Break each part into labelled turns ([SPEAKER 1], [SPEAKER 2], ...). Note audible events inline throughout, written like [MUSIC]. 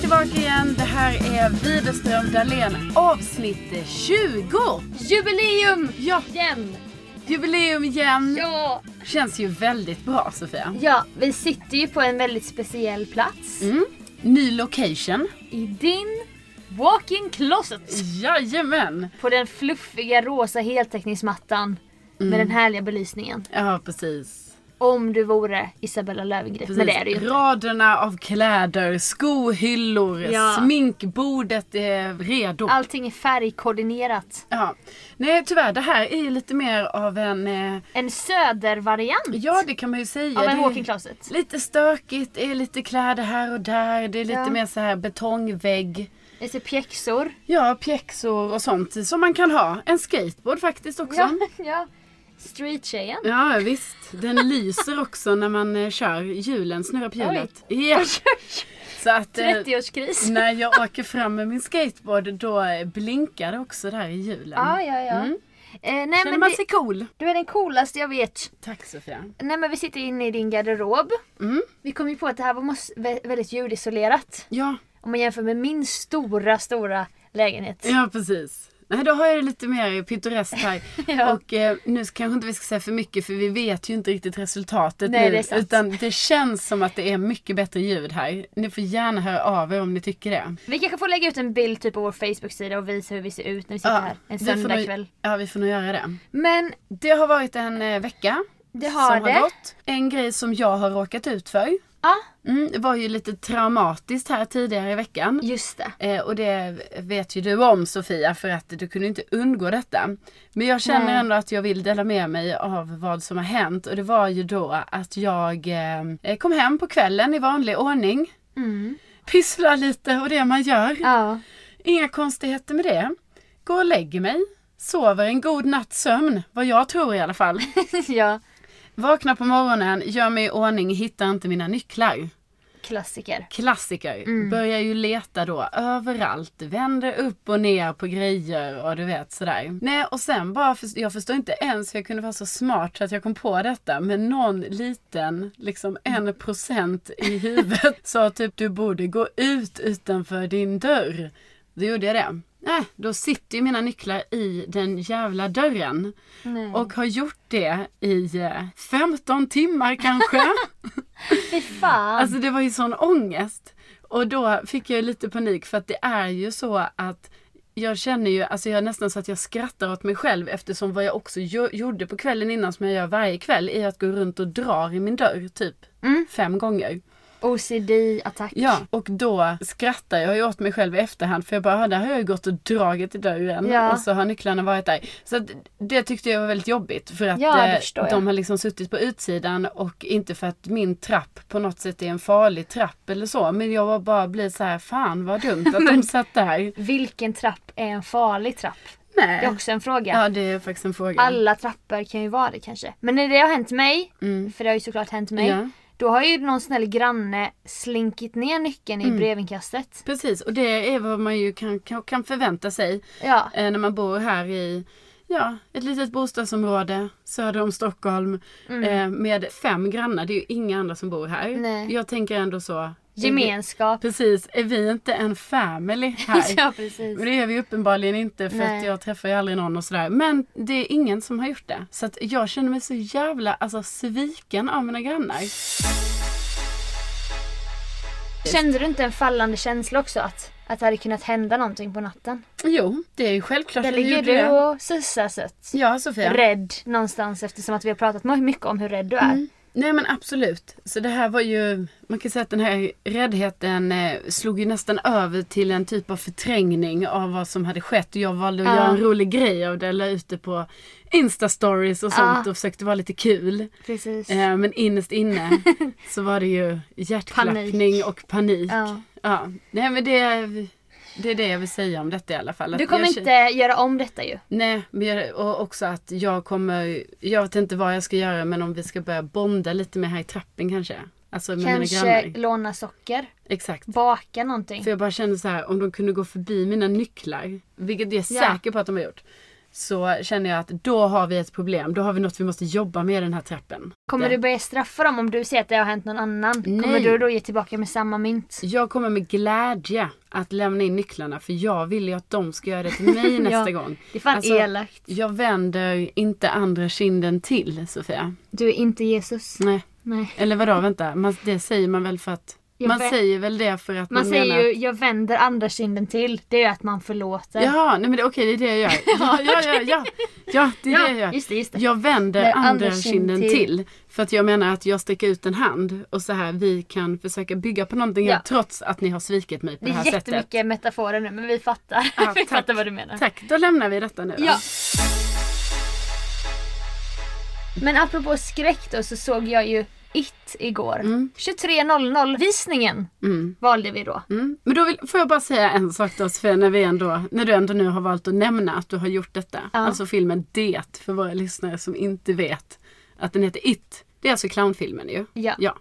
[SPEAKER 1] tillbaka igen. Det här är Widerström Dahlén avsnitt 20.
[SPEAKER 2] Jubileum
[SPEAKER 1] Ja,
[SPEAKER 2] igen!
[SPEAKER 1] jubileum igen.
[SPEAKER 2] Ja.
[SPEAKER 1] Känns ju väldigt bra Sofia.
[SPEAKER 2] Mm. ja, vi sitter ju på en väldigt speciell plats.
[SPEAKER 1] Mm. Ny location.
[SPEAKER 2] I din walk-in
[SPEAKER 1] Mm.
[SPEAKER 2] closet.
[SPEAKER 1] Jajamän.
[SPEAKER 2] På den fluffiga rosa heltäckningsmattan.
[SPEAKER 1] Mm.
[SPEAKER 2] Med den härliga belysningen.
[SPEAKER 1] Ja, precis.
[SPEAKER 2] Om du vore Isabella Löwengrip.
[SPEAKER 1] precis.
[SPEAKER 2] Men det är du ju inte.
[SPEAKER 1] Raderna av kläder, skohyllor,
[SPEAKER 2] Ja.
[SPEAKER 1] sminkbordet är redo.
[SPEAKER 2] Allting är färgkoordinerat.
[SPEAKER 1] Ja. Nej tyvärr, det här är ju lite mer av en... Eh,
[SPEAKER 2] En södervariant
[SPEAKER 1] ja, det kan man ju säga.
[SPEAKER 2] av en
[SPEAKER 1] Det-
[SPEAKER 2] walk-in closet.
[SPEAKER 1] Lite stökigt, det är lite kläder här och där. Det är lite
[SPEAKER 2] Ja.
[SPEAKER 1] mer så här betongvägg.
[SPEAKER 2] Lite pjäxor.
[SPEAKER 1] Ja, pjäxor och sånt som man kan ha. En skateboard faktiskt också.
[SPEAKER 2] Ja,
[SPEAKER 1] Ja,
[SPEAKER 2] [LAUGHS] ja. Street-tjejen.
[SPEAKER 1] visst. Den lyser också när man eh, kör hjulen, snurrar på hjulet. Ja. Så att eh,
[SPEAKER 2] 30-årskris.
[SPEAKER 1] när jag åker fram med min skateboard då eh, blinkar det också där i hjulen.
[SPEAKER 2] Ja, ja, ja.
[SPEAKER 1] Mm.
[SPEAKER 2] Eh, nej,
[SPEAKER 1] Känner
[SPEAKER 2] men
[SPEAKER 1] man
[SPEAKER 2] det-
[SPEAKER 1] sig cool?
[SPEAKER 2] Du är den coolaste jag vet.
[SPEAKER 1] Tack Sofia.
[SPEAKER 2] Nej men vi sitter inne i din garderob.
[SPEAKER 1] Mm.
[SPEAKER 2] Vi kom ju på att det här var mås- vä- väldigt ljudisolerat.
[SPEAKER 1] Ja,
[SPEAKER 2] Om man jämför med min stora, stora lägenhet.
[SPEAKER 1] ja precis. Nej, då har jag det lite mer pittoreskt här.
[SPEAKER 2] [LAUGHS] Ja.
[SPEAKER 1] Och eh, nu ska- kanske inte vi ska säga för mycket för vi vet ju inte riktigt resultatet
[SPEAKER 2] Nej,
[SPEAKER 1] nu.
[SPEAKER 2] det är sant.
[SPEAKER 1] utan det känns som att det är mycket bättre ljud här. Ni får gärna höra av er om ni tycker det.
[SPEAKER 2] Vi kanske får lägga ut en bild typ på vår Facebook-sida och visa hur vi ser ut när vi sitter här en
[SPEAKER 1] vi får nog-
[SPEAKER 2] söndagkväll.
[SPEAKER 1] Ja, vi får nog göra det.
[SPEAKER 2] Men
[SPEAKER 1] Det har varit en eh, vecka.
[SPEAKER 2] det har
[SPEAKER 1] som
[SPEAKER 2] det.
[SPEAKER 1] har gått. En grej som jag har råkat ut för.
[SPEAKER 2] Ja,
[SPEAKER 1] Mm, det var ju lite traumatiskt här tidigare i veckan.
[SPEAKER 2] just det.
[SPEAKER 1] Eh, och det vet ju du om Sofia för att du kunde inte undgå detta. Men jag känner
[SPEAKER 2] Nej.
[SPEAKER 1] ändå att jag vill dela med mig av vad som har hänt och det var ju då att jag eh, kom hem på kvällen i vanlig ordning. [LAUGHS]
[SPEAKER 2] Mm.
[SPEAKER 1] Pysslar lite och det man gör.
[SPEAKER 2] Ja. [LAUGHS]
[SPEAKER 1] Inga konstigheter med det. Går och lägger mig. Sover en god natts sömn, vad jag tror i alla fall.
[SPEAKER 2] ja.
[SPEAKER 1] Vaknar på morgonen, gör mig i ordning, hittar inte mina nycklar.
[SPEAKER 2] Klassiker.
[SPEAKER 1] Klassiker. Börjar ju leta då överallt. Vänder upp och ner på grejer och du vet sådär. Nej och sen bara, för, jag förstår inte ens hur jag kunde vara så smart så att jag kom på detta. Men någon liten, liksom en procent i huvudet sa typ du borde gå ut utanför din dörr. Då gjorde jag det. Nej, då sitter ju mina nycklar i den jävla dörren.
[SPEAKER 2] Nej.
[SPEAKER 1] Och har gjort det i eh, 15 timmar kanske.
[SPEAKER 2] Fy fan.
[SPEAKER 1] Alltså det var ju sån ångest. Och då fick jag ju lite panik för att det är ju så att jag känner ju, alltså jag är nästan så att jag skrattar åt mig själv eftersom vad jag också gö- gjorde på kvällen innan som jag gör varje kväll är att gå runt och dra i min dörr typ
[SPEAKER 2] Mm.
[SPEAKER 1] fem gånger.
[SPEAKER 2] OCD-attack.
[SPEAKER 1] Ja, och då skrattar jag ju åt mig själv i efterhand för jag bara, "Ah, där har jag ju gått och dragit i dörren
[SPEAKER 2] Ja.
[SPEAKER 1] och så har nycklarna varit där. Så att det tyckte jag var väldigt jobbigt för att
[SPEAKER 2] Ja, det
[SPEAKER 1] eh,
[SPEAKER 2] förstår jag.
[SPEAKER 1] de har liksom suttit på utsidan och inte för att min trapp på något sätt är en farlig trapp eller så men jag var bara blir så här, fan vad dumt att
[SPEAKER 2] [LAUGHS]
[SPEAKER 1] de satt där.
[SPEAKER 2] Vilken trapp är en farlig trapp? Det är
[SPEAKER 1] Nej.
[SPEAKER 2] också en fråga.
[SPEAKER 1] Eh, Ja, det är faktiskt en fråga.
[SPEAKER 2] Alla trappor kan ju vara det kanske. Men när det har hänt mig,
[SPEAKER 1] Mm.
[SPEAKER 2] för det har ju såklart hänt mig.
[SPEAKER 1] Ja.
[SPEAKER 2] Då har ju någon snäll granne slinkit ner nyckeln
[SPEAKER 1] Mm.
[SPEAKER 2] i brevinkastet.
[SPEAKER 1] Precis, och det är vad man ju kan, kan, kan förvänta sig
[SPEAKER 2] Ja.
[SPEAKER 1] eh, när man bor här i ja, ett litet bostadsområde söder om Stockholm eh, med fem grannar. Det är ju inga andra som bor här.
[SPEAKER 2] Nej.
[SPEAKER 1] Jag tänker ändå så. är vi-
[SPEAKER 2] Gemenskap.
[SPEAKER 1] Precis, är vi inte en family [LAUGHS] här?
[SPEAKER 2] [LAUGHS] ja precis.
[SPEAKER 1] Men det är vi uppenbarligen inte för att
[SPEAKER 2] Nej.
[SPEAKER 1] jag träffar ju aldrig någon och sådär. Men det är ingen som har gjort det. Så att jag känner mig så jävla alltså, sviken av mina grannar.
[SPEAKER 2] Kände du inte en fallande känsla också att, att det hade kunnat hända någonting på natten?
[SPEAKER 1] Jo, det är ju självklart
[SPEAKER 2] Där
[SPEAKER 1] att jag
[SPEAKER 2] ligger
[SPEAKER 1] gjorde
[SPEAKER 2] du
[SPEAKER 1] det.
[SPEAKER 2] och sussar sött.
[SPEAKER 1] Ja, Sofia.
[SPEAKER 2] Rädd någonstans eftersom att vi har pratat my- mycket om hur rädd du
[SPEAKER 1] Mm.
[SPEAKER 2] är.
[SPEAKER 1] Nej men absolut. Så det här var ju, man kan säga att den här räddheten eh, slog ju nästan över till en typ av förträngning av vad som hade skett. Och jag valde att
[SPEAKER 2] Ja.
[SPEAKER 1] göra en rolig grej av det, la ut det på Insta-stories och sånt
[SPEAKER 2] Ja.
[SPEAKER 1] och försökte vara lite kul.
[SPEAKER 2] Precis.
[SPEAKER 1] Eh, men innerst
[SPEAKER 2] [LAUGHS]
[SPEAKER 1] inne så var det ju hjärtklappning
[SPEAKER 2] Panik.
[SPEAKER 1] och panik. Ja.
[SPEAKER 2] Ja.
[SPEAKER 1] Nej men det, det är det jag vill säga om detta i alla fall. Att
[SPEAKER 2] Du kommer
[SPEAKER 1] jag kä-
[SPEAKER 2] inte göra om detta ju.
[SPEAKER 1] Nej, men jag, och också att jag kommer, jag vet inte vad jag ska göra men om vi ska börja bonda lite mer här i trappen kanske. Alltså med mina
[SPEAKER 2] Kanske
[SPEAKER 1] grannar.
[SPEAKER 2] låna socker,
[SPEAKER 1] Exakt.
[SPEAKER 2] baka någonting.
[SPEAKER 1] För jag bara kände så här, om de kunde gå förbi mina nycklar, vilket jag är
[SPEAKER 2] Ja.
[SPEAKER 1] säker på att de har gjort. så känner jag att då har vi ett problem. Då har vi något vi måste jobba med i den här trappen.
[SPEAKER 2] Kommer du börja straffa dem om du ser att det har hänt någon annan? Kommer
[SPEAKER 1] Nej.
[SPEAKER 2] du då ge tillbaka med samma mynt?
[SPEAKER 1] Jag kommer med glädje att lämna in nycklarna för jag vill ju att de ska göra det till
[SPEAKER 2] [LAUGHS]
[SPEAKER 1] mig nästa gång.
[SPEAKER 2] Det är fan
[SPEAKER 1] Alltså,
[SPEAKER 2] elakt.
[SPEAKER 1] Jag vänder inte andra kinden till Sofia.
[SPEAKER 2] Du är inte Jesus.
[SPEAKER 1] Nej.
[SPEAKER 2] Nej.
[SPEAKER 1] Eller vadå, vänta. Man, det säger man väl för att...
[SPEAKER 2] Jag
[SPEAKER 1] man
[SPEAKER 2] vä-
[SPEAKER 1] säger väl det för att man,
[SPEAKER 2] Man säger
[SPEAKER 1] menar...
[SPEAKER 2] ju, jag vänder andra kinden till. Det är ju att man förlåter.
[SPEAKER 1] Jaha, nej men det, okej det är det jag
[SPEAKER 2] [LAUGHS]
[SPEAKER 1] gör. Ja, ja, ja, ja. ja det är det jag
[SPEAKER 2] ja
[SPEAKER 1] gör.
[SPEAKER 2] just det, just det.
[SPEAKER 1] Jag vänder
[SPEAKER 2] Där
[SPEAKER 1] andra,
[SPEAKER 2] andra kind
[SPEAKER 1] kinden till.
[SPEAKER 2] till.
[SPEAKER 1] För att jag menar att jag sträcker ut en hand och så här vi kan försöka bygga på någonting
[SPEAKER 2] Ja.
[SPEAKER 1] här, trots att ni har svikit mig på
[SPEAKER 2] Det
[SPEAKER 1] det,
[SPEAKER 2] är
[SPEAKER 1] här
[SPEAKER 2] jättemycket
[SPEAKER 1] sättet.
[SPEAKER 2] metaforer nu men vi fattar.
[SPEAKER 1] Ja,
[SPEAKER 2] [LAUGHS] vi
[SPEAKER 1] tack.
[SPEAKER 2] fattar vad du menar.
[SPEAKER 1] Tack, då lämnar vi detta nu. då.
[SPEAKER 2] Ja. Men apropå skräck då så såg jag ju It igår. 23.00 visningen
[SPEAKER 1] Mm.
[SPEAKER 2] valde vi då.
[SPEAKER 1] Mm. Men då vill, får jag bara säga en sak då Sofia, när, vi ändå, när du ändå nu har valt att nämna att du har gjort detta.
[SPEAKER 2] Ja.
[SPEAKER 1] Alltså filmen Det, för våra lyssnare som inte vet att den heter It. Det är alltså clownfilmen ju.
[SPEAKER 2] Ja.
[SPEAKER 1] ja.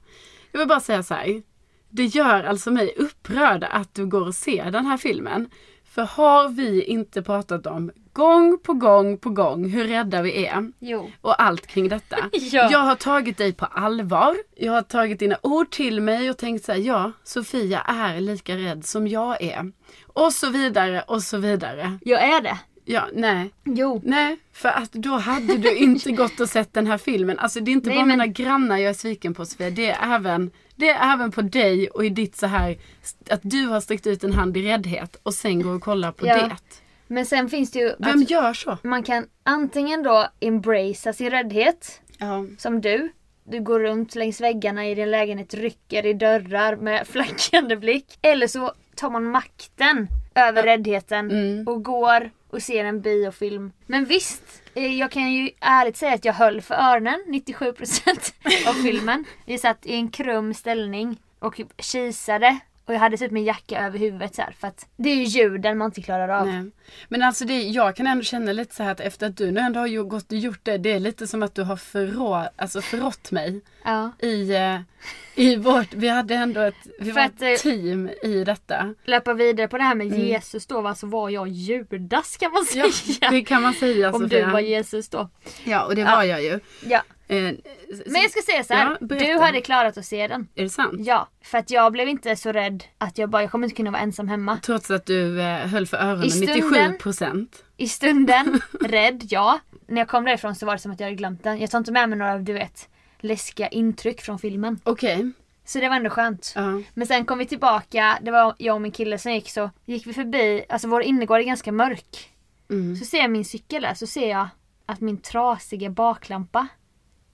[SPEAKER 1] Jag vill bara säga så här. Det gör alltså mig upprörd att du går och ser den här filmen. För har vi inte pratat om gång på gång på gång hur rädda vi är
[SPEAKER 2] Jo.
[SPEAKER 1] och allt kring detta.
[SPEAKER 2] [LAUGHS] Ja.
[SPEAKER 1] Jag har tagit dig på allvar. Jag har tagit dina ord till mig och tänkt så här, ja, Sofia är lika rädd som jag är. Och så vidare och så vidare.
[SPEAKER 2] Jag är det.
[SPEAKER 1] Ja, nej.
[SPEAKER 2] Jo.
[SPEAKER 1] Nej, för att då hade
[SPEAKER 2] [LAUGHS]
[SPEAKER 1] du inte gått och sett den här filmen. Alltså det är inte
[SPEAKER 2] Nej,
[SPEAKER 1] bara
[SPEAKER 2] men-
[SPEAKER 1] mina grannar jag är sviken på Sofia. Det är även, det är även på dig och i ditt så här att du har sträckt ut en hand i räddhet och sen går och kollar på
[SPEAKER 2] Ja.
[SPEAKER 1] det.
[SPEAKER 2] Men sen finns det ju att
[SPEAKER 1] Vem gör så?
[SPEAKER 2] man kan antingen då embracea sin räddhet
[SPEAKER 1] Ja.
[SPEAKER 2] som du. Du går runt längs väggarna i din lägenhet, rycker i dörrar med [LAUGHS] flackande blick. Eller så tar man makten över räddheten och går och ser en biofilm. Men visst, eh, jag kan ju ärligt säga att jag höll för öronen 97% av filmen. Vi satt i en krum ställning och kisade. Och jag hade typ min jacka över huvudet så här, för att det är ju ljuden man inte klarar av.
[SPEAKER 1] Nej. Men alltså det, jag kan ändå känna lite så här att efter att du nu ändå har ju- gått och gjort det, det är lite som att du har förrå, alltså förrått mig.
[SPEAKER 2] Ja.
[SPEAKER 1] I, eh, i vårt, vi hade ändå ett, vi
[SPEAKER 2] För
[SPEAKER 1] var
[SPEAKER 2] att, eh,
[SPEAKER 1] ett team i detta.
[SPEAKER 2] Löpa vidare på det här med Jesus då, va, så var jag Judas kan man säga.
[SPEAKER 1] Mm. Ja, det kan man säga
[SPEAKER 2] Om
[SPEAKER 1] Sofia.
[SPEAKER 2] du var Jesus då.
[SPEAKER 1] Ja, och det
[SPEAKER 2] Ja.
[SPEAKER 1] var jag ju.
[SPEAKER 2] Ja.
[SPEAKER 1] Eh,
[SPEAKER 2] Men jag ska säga så här.
[SPEAKER 1] Ja, berätta.
[SPEAKER 2] du hade klarat att se den.
[SPEAKER 1] Är det sant?
[SPEAKER 2] Ja. För att jag blev inte så rädd att jag bara, jag kommer inte kunna vara ensam hemma.
[SPEAKER 1] Trots att du eh, höll för öronen
[SPEAKER 2] I stunden-
[SPEAKER 1] 97 procent.
[SPEAKER 2] I
[SPEAKER 1] [LAUGHS]
[SPEAKER 2] stunden, rädd, ja. När jag kom därifrån så var det som att jag hade glömt den. Jag tar inte med mig några, du vet, läskiga intryck från filmen.
[SPEAKER 1] Okej.
[SPEAKER 2] Så det var ändå skönt.
[SPEAKER 1] Ja.
[SPEAKER 2] Men sen kom vi tillbaka, det var jag och min kille som gick så gick vi förbi, alltså vår innergård är ganska mörk.
[SPEAKER 1] Mm.
[SPEAKER 2] Så ser jag min cykel där, så ser jag att min trasiga baklampa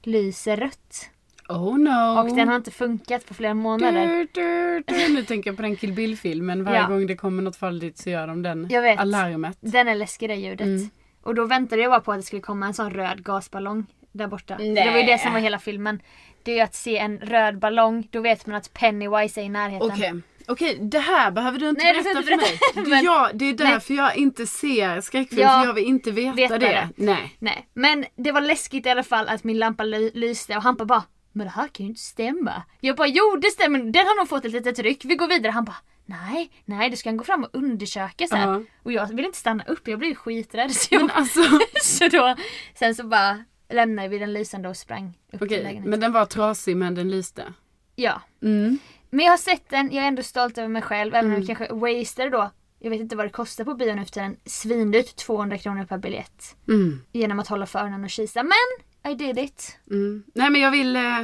[SPEAKER 2] lyser rött.
[SPEAKER 1] Oh no.
[SPEAKER 2] Och den har inte funkat på flera månader.
[SPEAKER 1] du, du, du. Nu tänker jag på den Kill Bill-filmen. Varje
[SPEAKER 2] Ja.
[SPEAKER 1] gång det kommer något farligt så gör de den.
[SPEAKER 2] Jag vet.
[SPEAKER 1] Alarmet.
[SPEAKER 2] Den är läskig det ljudet.
[SPEAKER 1] Mm.
[SPEAKER 2] Och då väntade jag bara på att det skulle komma en sån röd gasballong där borta. Det var ju det som var hela filmen. Det är ju att se en röd ballong, då vet man att Pennywise är i närheten.
[SPEAKER 1] Okej. Okej, det här behöver du inte
[SPEAKER 2] Nej, det
[SPEAKER 1] berätta
[SPEAKER 2] ska
[SPEAKER 1] för
[SPEAKER 2] jag inte
[SPEAKER 1] mig.
[SPEAKER 2] berätta,
[SPEAKER 1] Det, är
[SPEAKER 2] [LAUGHS] men-
[SPEAKER 1] jag, det är därför jag inte ser skräckfilm,
[SPEAKER 2] Ja.
[SPEAKER 1] för jag vill inte veta,
[SPEAKER 2] Veta
[SPEAKER 1] det.
[SPEAKER 2] det.
[SPEAKER 1] Nej.
[SPEAKER 2] Nej, men det var läskigt i alla fall att min lampa ly- lyste och Hampa bara Men det här kan ju inte stämma. Jag bara jo det stämmer, den har nog fått ett litet ryck, vi går vidare. Han bara Nej, nej du ska gå fram och undersöka så här.
[SPEAKER 1] Ja.
[SPEAKER 2] Och jag vill inte stanna upp, jag blev skiträdd. [LAUGHS] Så,
[SPEAKER 1] Men
[SPEAKER 2] jag,
[SPEAKER 1] alltså,
[SPEAKER 2] så då, sen så bara lämnade vi den lysande och sprang upp till
[SPEAKER 1] okej.
[SPEAKER 2] lägenheten.
[SPEAKER 1] Men den var trasig men den lyste.
[SPEAKER 2] Ja.
[SPEAKER 1] Mm.
[SPEAKER 2] Men jag har sett den, jag är ändå stolt över mig själv. Även om jag kanske waster då. Jag vet inte vad det kostar på bio nu för tiden. Svindyrt, 200 kronor per biljett.
[SPEAKER 1] Mm.
[SPEAKER 2] Genom att hålla för öronen och kisa. Men I did it.
[SPEAKER 1] Mm. Nej men jag vill, eh,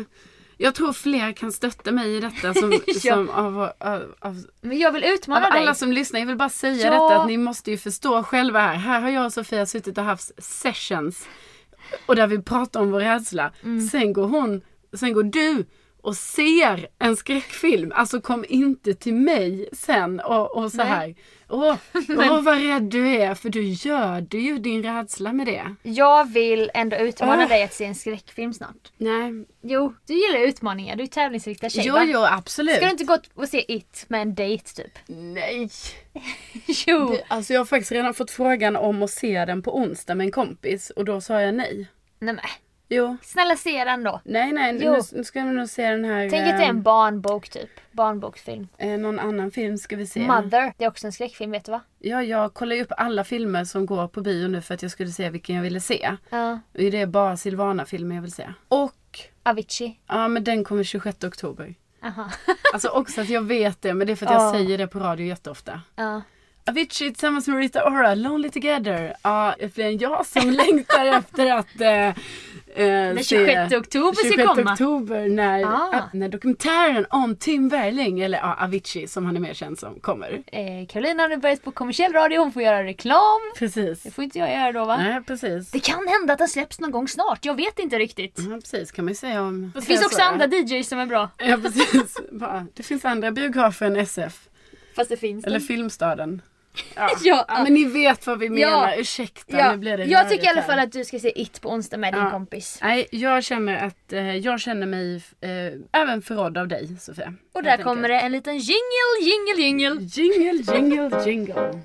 [SPEAKER 1] jag tror fler kan stötta mig i detta som,
[SPEAKER 2] [LAUGHS] Ja.
[SPEAKER 1] som av, av, av,
[SPEAKER 2] Men jag vill
[SPEAKER 1] av
[SPEAKER 2] utmana dig.
[SPEAKER 1] alla som lyssnar. Jag vill bara säga
[SPEAKER 2] Ja.
[SPEAKER 1] detta att ni måste ju förstå själva här. Här har jag och Sofia suttit och haft sessions och där vi pratar om vår rädsla. Sen går hon, sen går du och ser en skräckfilm. Alltså kom inte till mig sen och, och så
[SPEAKER 2] Nej.
[SPEAKER 1] här. [LAUGHS] Åh, åh vad rädd du är för du gör du ju din rädsla med det.
[SPEAKER 2] Jag vill ändå utmana
[SPEAKER 1] Ah.
[SPEAKER 2] dig att se en skräckfilm snart.
[SPEAKER 1] Nej,
[SPEAKER 2] Jo, du gillar utmaningar. Du är tävlingsriktad tjej
[SPEAKER 1] jo
[SPEAKER 2] va?
[SPEAKER 1] jo absolut.
[SPEAKER 2] Ska du inte gå och se It med en dejt typ?
[SPEAKER 1] Nej.
[SPEAKER 2] [LAUGHS] Jo.
[SPEAKER 1] Det- Alltså jag har faktiskt redan fått frågan om att se den på onsdag med en kompis och då sa jag nej.
[SPEAKER 2] Nej men. äh,
[SPEAKER 1] Jo.
[SPEAKER 2] Snälla se den då.
[SPEAKER 1] Nej, nej. Nu,
[SPEAKER 2] Jo.
[SPEAKER 1] nu ska vi nog se den här...
[SPEAKER 2] Tänk att det är en barnbok typ. Barnboksfilm.
[SPEAKER 1] eh, någon annan film ska vi se.
[SPEAKER 2] Mother, det är också en skräckfilm vet du va?
[SPEAKER 1] Ja, jag kollar ju upp alla filmer som går på bio nu för att jag skulle se vilken jag ville se.
[SPEAKER 2] Ja.
[SPEAKER 1] Och det är bara Silvana-filmer jag vill se. Och,
[SPEAKER 2] Avicii.
[SPEAKER 1] ja men den kommer 26 oktober.
[SPEAKER 2] [LAUGHS] Aha.
[SPEAKER 1] Alltså också att jag vet det, men det är för att jag
[SPEAKER 2] Ja.
[SPEAKER 1] säger det på radio jätteofta.
[SPEAKER 2] ja.
[SPEAKER 1] Avicii tillsammans med Rita Ora, Lonely Together. Ja, det är fler än jag som [LAUGHS] längtar efter att eh, eh,
[SPEAKER 2] Den
[SPEAKER 1] se
[SPEAKER 2] 26 oktober ska
[SPEAKER 1] 26
[SPEAKER 2] komma.
[SPEAKER 1] oktober när,
[SPEAKER 2] Ah.
[SPEAKER 1] ah, när dokumentären om Tim Berling, eller ja, Avicii som han är mer känd som, kommer.
[SPEAKER 2] Eh, Carolina har nu börjat på kommersiell radio, hon får göra reklam.
[SPEAKER 1] Precis.
[SPEAKER 2] Det får inte jag göra då va?
[SPEAKER 1] Nej, precis.
[SPEAKER 2] Det kan hända att den släpps någon gång snart, jag vet inte riktigt.
[SPEAKER 1] Ja, precis kan man ju säga om...
[SPEAKER 2] Det finns också andra DJs som är bra.
[SPEAKER 1] Ja, precis. Bara, det finns andra biografer än SF.
[SPEAKER 2] Fast det finns
[SPEAKER 1] Eller
[SPEAKER 2] den.
[SPEAKER 1] Filmstaden. Ja.
[SPEAKER 2] [LAUGHS] Ja.
[SPEAKER 1] Ja, men ni vet vad vi menar.
[SPEAKER 2] Ja.
[SPEAKER 1] Ursäkta,
[SPEAKER 2] Ja,
[SPEAKER 1] nu blir det
[SPEAKER 2] jag tycker i
[SPEAKER 1] rörigt
[SPEAKER 2] alla fall
[SPEAKER 1] här.
[SPEAKER 2] att du ska se It på onsdag med din
[SPEAKER 1] Ja.
[SPEAKER 2] kompis.
[SPEAKER 1] Nej, jag känner att eh, jag känner mig eh, även förrådd av dig, Sofia.
[SPEAKER 2] Och där kommer det en liten jingle, jingle, jingle.
[SPEAKER 1] Jingle, jingle, jingle.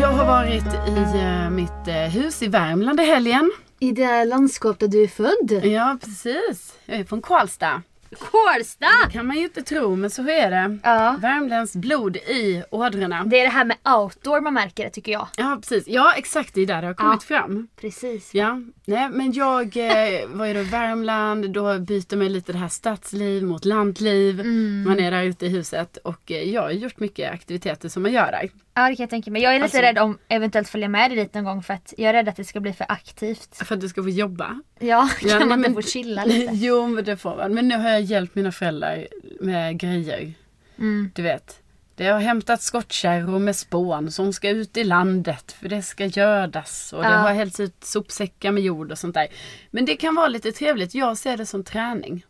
[SPEAKER 1] Jag har varit i eh, mitt eh, hus i Värmland i helgen.
[SPEAKER 2] I det landskap där du är född.
[SPEAKER 1] Ja, precis. Jag är från Karlstad.
[SPEAKER 2] Kårsta!
[SPEAKER 1] kan man ju inte tro, men så är det.
[SPEAKER 2] Ja.
[SPEAKER 1] Värmlands blod i ådrorna.
[SPEAKER 2] Det är det här med outdoor man märker det tycker jag.
[SPEAKER 1] Ja, precis. Ja, exakt. Det är där det har kommit fram.
[SPEAKER 2] Precis.
[SPEAKER 1] Ja, nej men jag eh, var ju då i Värmland, då byter man ju lite det här stadsliv mot lantliv.
[SPEAKER 2] Mm.
[SPEAKER 1] Man är där ute i huset och eh, jag har gjort mycket aktiviteter som man gör där.
[SPEAKER 2] Ja det kan jag tänka mig. Jag är lite
[SPEAKER 1] Alltså-
[SPEAKER 2] rädd om eventuellt följa med dig dit någon gång för att jag är rädd att det ska bli för aktivt.
[SPEAKER 1] För att du ska få jobba.
[SPEAKER 2] Ja, Mm,
[SPEAKER 1] Ja,
[SPEAKER 2] [LAUGHS] kan
[SPEAKER 1] nej,
[SPEAKER 2] man inte
[SPEAKER 1] men-
[SPEAKER 2] få chilla
[SPEAKER 1] [LAUGHS]
[SPEAKER 2] lite?
[SPEAKER 1] jo men det får man. Men nu har jag hjälpt mina föräldrar med grejer.
[SPEAKER 2] Mm.
[SPEAKER 1] Du vet. Det har hämtat skottkärror med spån som ska ut i landet för det ska gödas. Och det
[SPEAKER 2] Ja.
[SPEAKER 1] har hällts ut sopsäckar med jord och sånt där. Men det kan vara lite trevligt. Jag ser det som träning.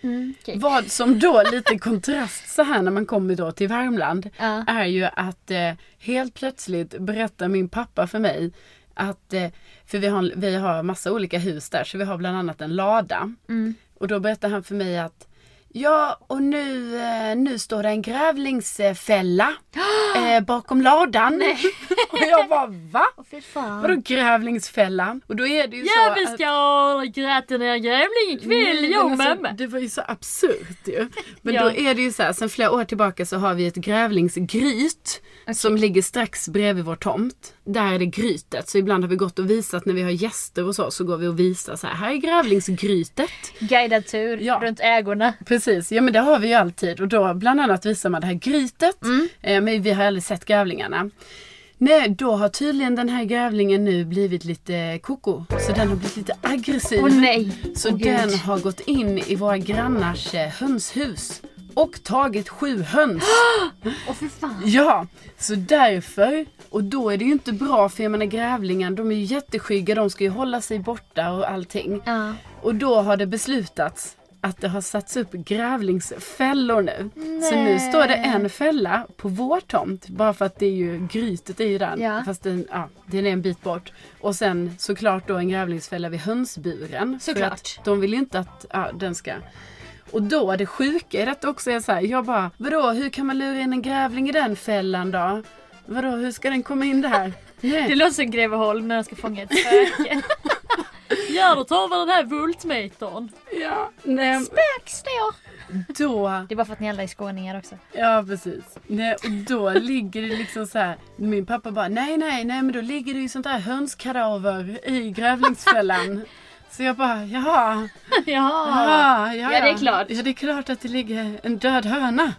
[SPEAKER 2] Mm, okej.
[SPEAKER 1] Vad som då lite kontrast så här när man kommer då till Värmland
[SPEAKER 2] Ja.
[SPEAKER 1] är ju att eh, helt plötsligt berättar min pappa för mig att, eh, för vi har, vi har massa olika hus där så vi har bland annat en lada.
[SPEAKER 2] Mm.
[SPEAKER 1] Och då berättar han för mig att Ja och nu, eh, nu står det en
[SPEAKER 2] [GASPS]
[SPEAKER 1] grävlingsfälla eh, bakom ladan. [LAUGHS] och jag bara va?
[SPEAKER 2] Åh, fy fan.
[SPEAKER 1] Vadå grävlingsfälla? Och då är det ju så
[SPEAKER 2] Jäveln ska ha gräten när grävling ikväll,
[SPEAKER 1] Nej,
[SPEAKER 2] jag
[SPEAKER 1] men alltså,
[SPEAKER 2] mamma.
[SPEAKER 1] Det var ju så absurt ju. Men
[SPEAKER 2] Ja.
[SPEAKER 1] då är det ju så här, sen flera år tillbaka så har vi ett grävlingsgryt som ligger strax bredvid vår tomt. Där är det grytet, så ibland har vi gått och visat när vi har gäster och så, så går vi och visar så här, här är grävlingsgrytet.
[SPEAKER 2] Guidad tur
[SPEAKER 1] Ja.
[SPEAKER 2] runt ägorna.
[SPEAKER 1] Precis, ja men det har vi ju alltid och då bland annat visar man det här grytet. Eh, men vi har aldrig sett grävlingarna. Nej, då har tydligen den här grävlingen nu blivit lite koko. Så den har blivit lite aggressiv.
[SPEAKER 2] Åh nej.
[SPEAKER 1] Så
[SPEAKER 2] Åh, gud.
[SPEAKER 1] den har gått in i våra grannars eh, hönshus och tagit sju höns. [GASPS]
[SPEAKER 2] Åh fy fan.
[SPEAKER 1] Ja, så därför. Och då är det ju inte bra för jag menar grävlingen, de är ju jätteskygga, de ska ju hålla sig borta och allting.
[SPEAKER 2] Ja.
[SPEAKER 1] Och då har det beslutats att det har satts upp grävlingsfällor nu. Så nu står det en fälla på vår tomt. Bara för att det är ju, grytet är ju där.
[SPEAKER 2] Ja.
[SPEAKER 1] Fast den, ja, den är en bit bort. Och sen såklart då en grävlingsfälla vid hönsburen.
[SPEAKER 2] Såklart.
[SPEAKER 1] För att de vill ju inte att ja, den ska... Och då, det sjuka i detta också är så här, jag bara, vadå hur kan man lura in en grävling i den fällan då? Vadå hur ska den komma in
[SPEAKER 2] [LAUGHS]
[SPEAKER 1] där? Nej.
[SPEAKER 2] Det låter som Greveholm när de ska fånga ett spöke. [LAUGHS] ja då tar vi den här voltmetern.
[SPEAKER 1] Ja, nej,
[SPEAKER 2] Spökstå.
[SPEAKER 1] då
[SPEAKER 2] Det är bara för att ni alla är skåningar också.
[SPEAKER 1] Ja precis. Nej, och då ligger det liksom så här. Min pappa bara nej nej nej men då ligger det ju sånt där hönskadaver i grävlingsfällan. Så jag bara jaha.
[SPEAKER 2] [LAUGHS] ja.
[SPEAKER 1] Ah, ja, ja,
[SPEAKER 2] det är klart.
[SPEAKER 1] Ja det är klart att det ligger en död höna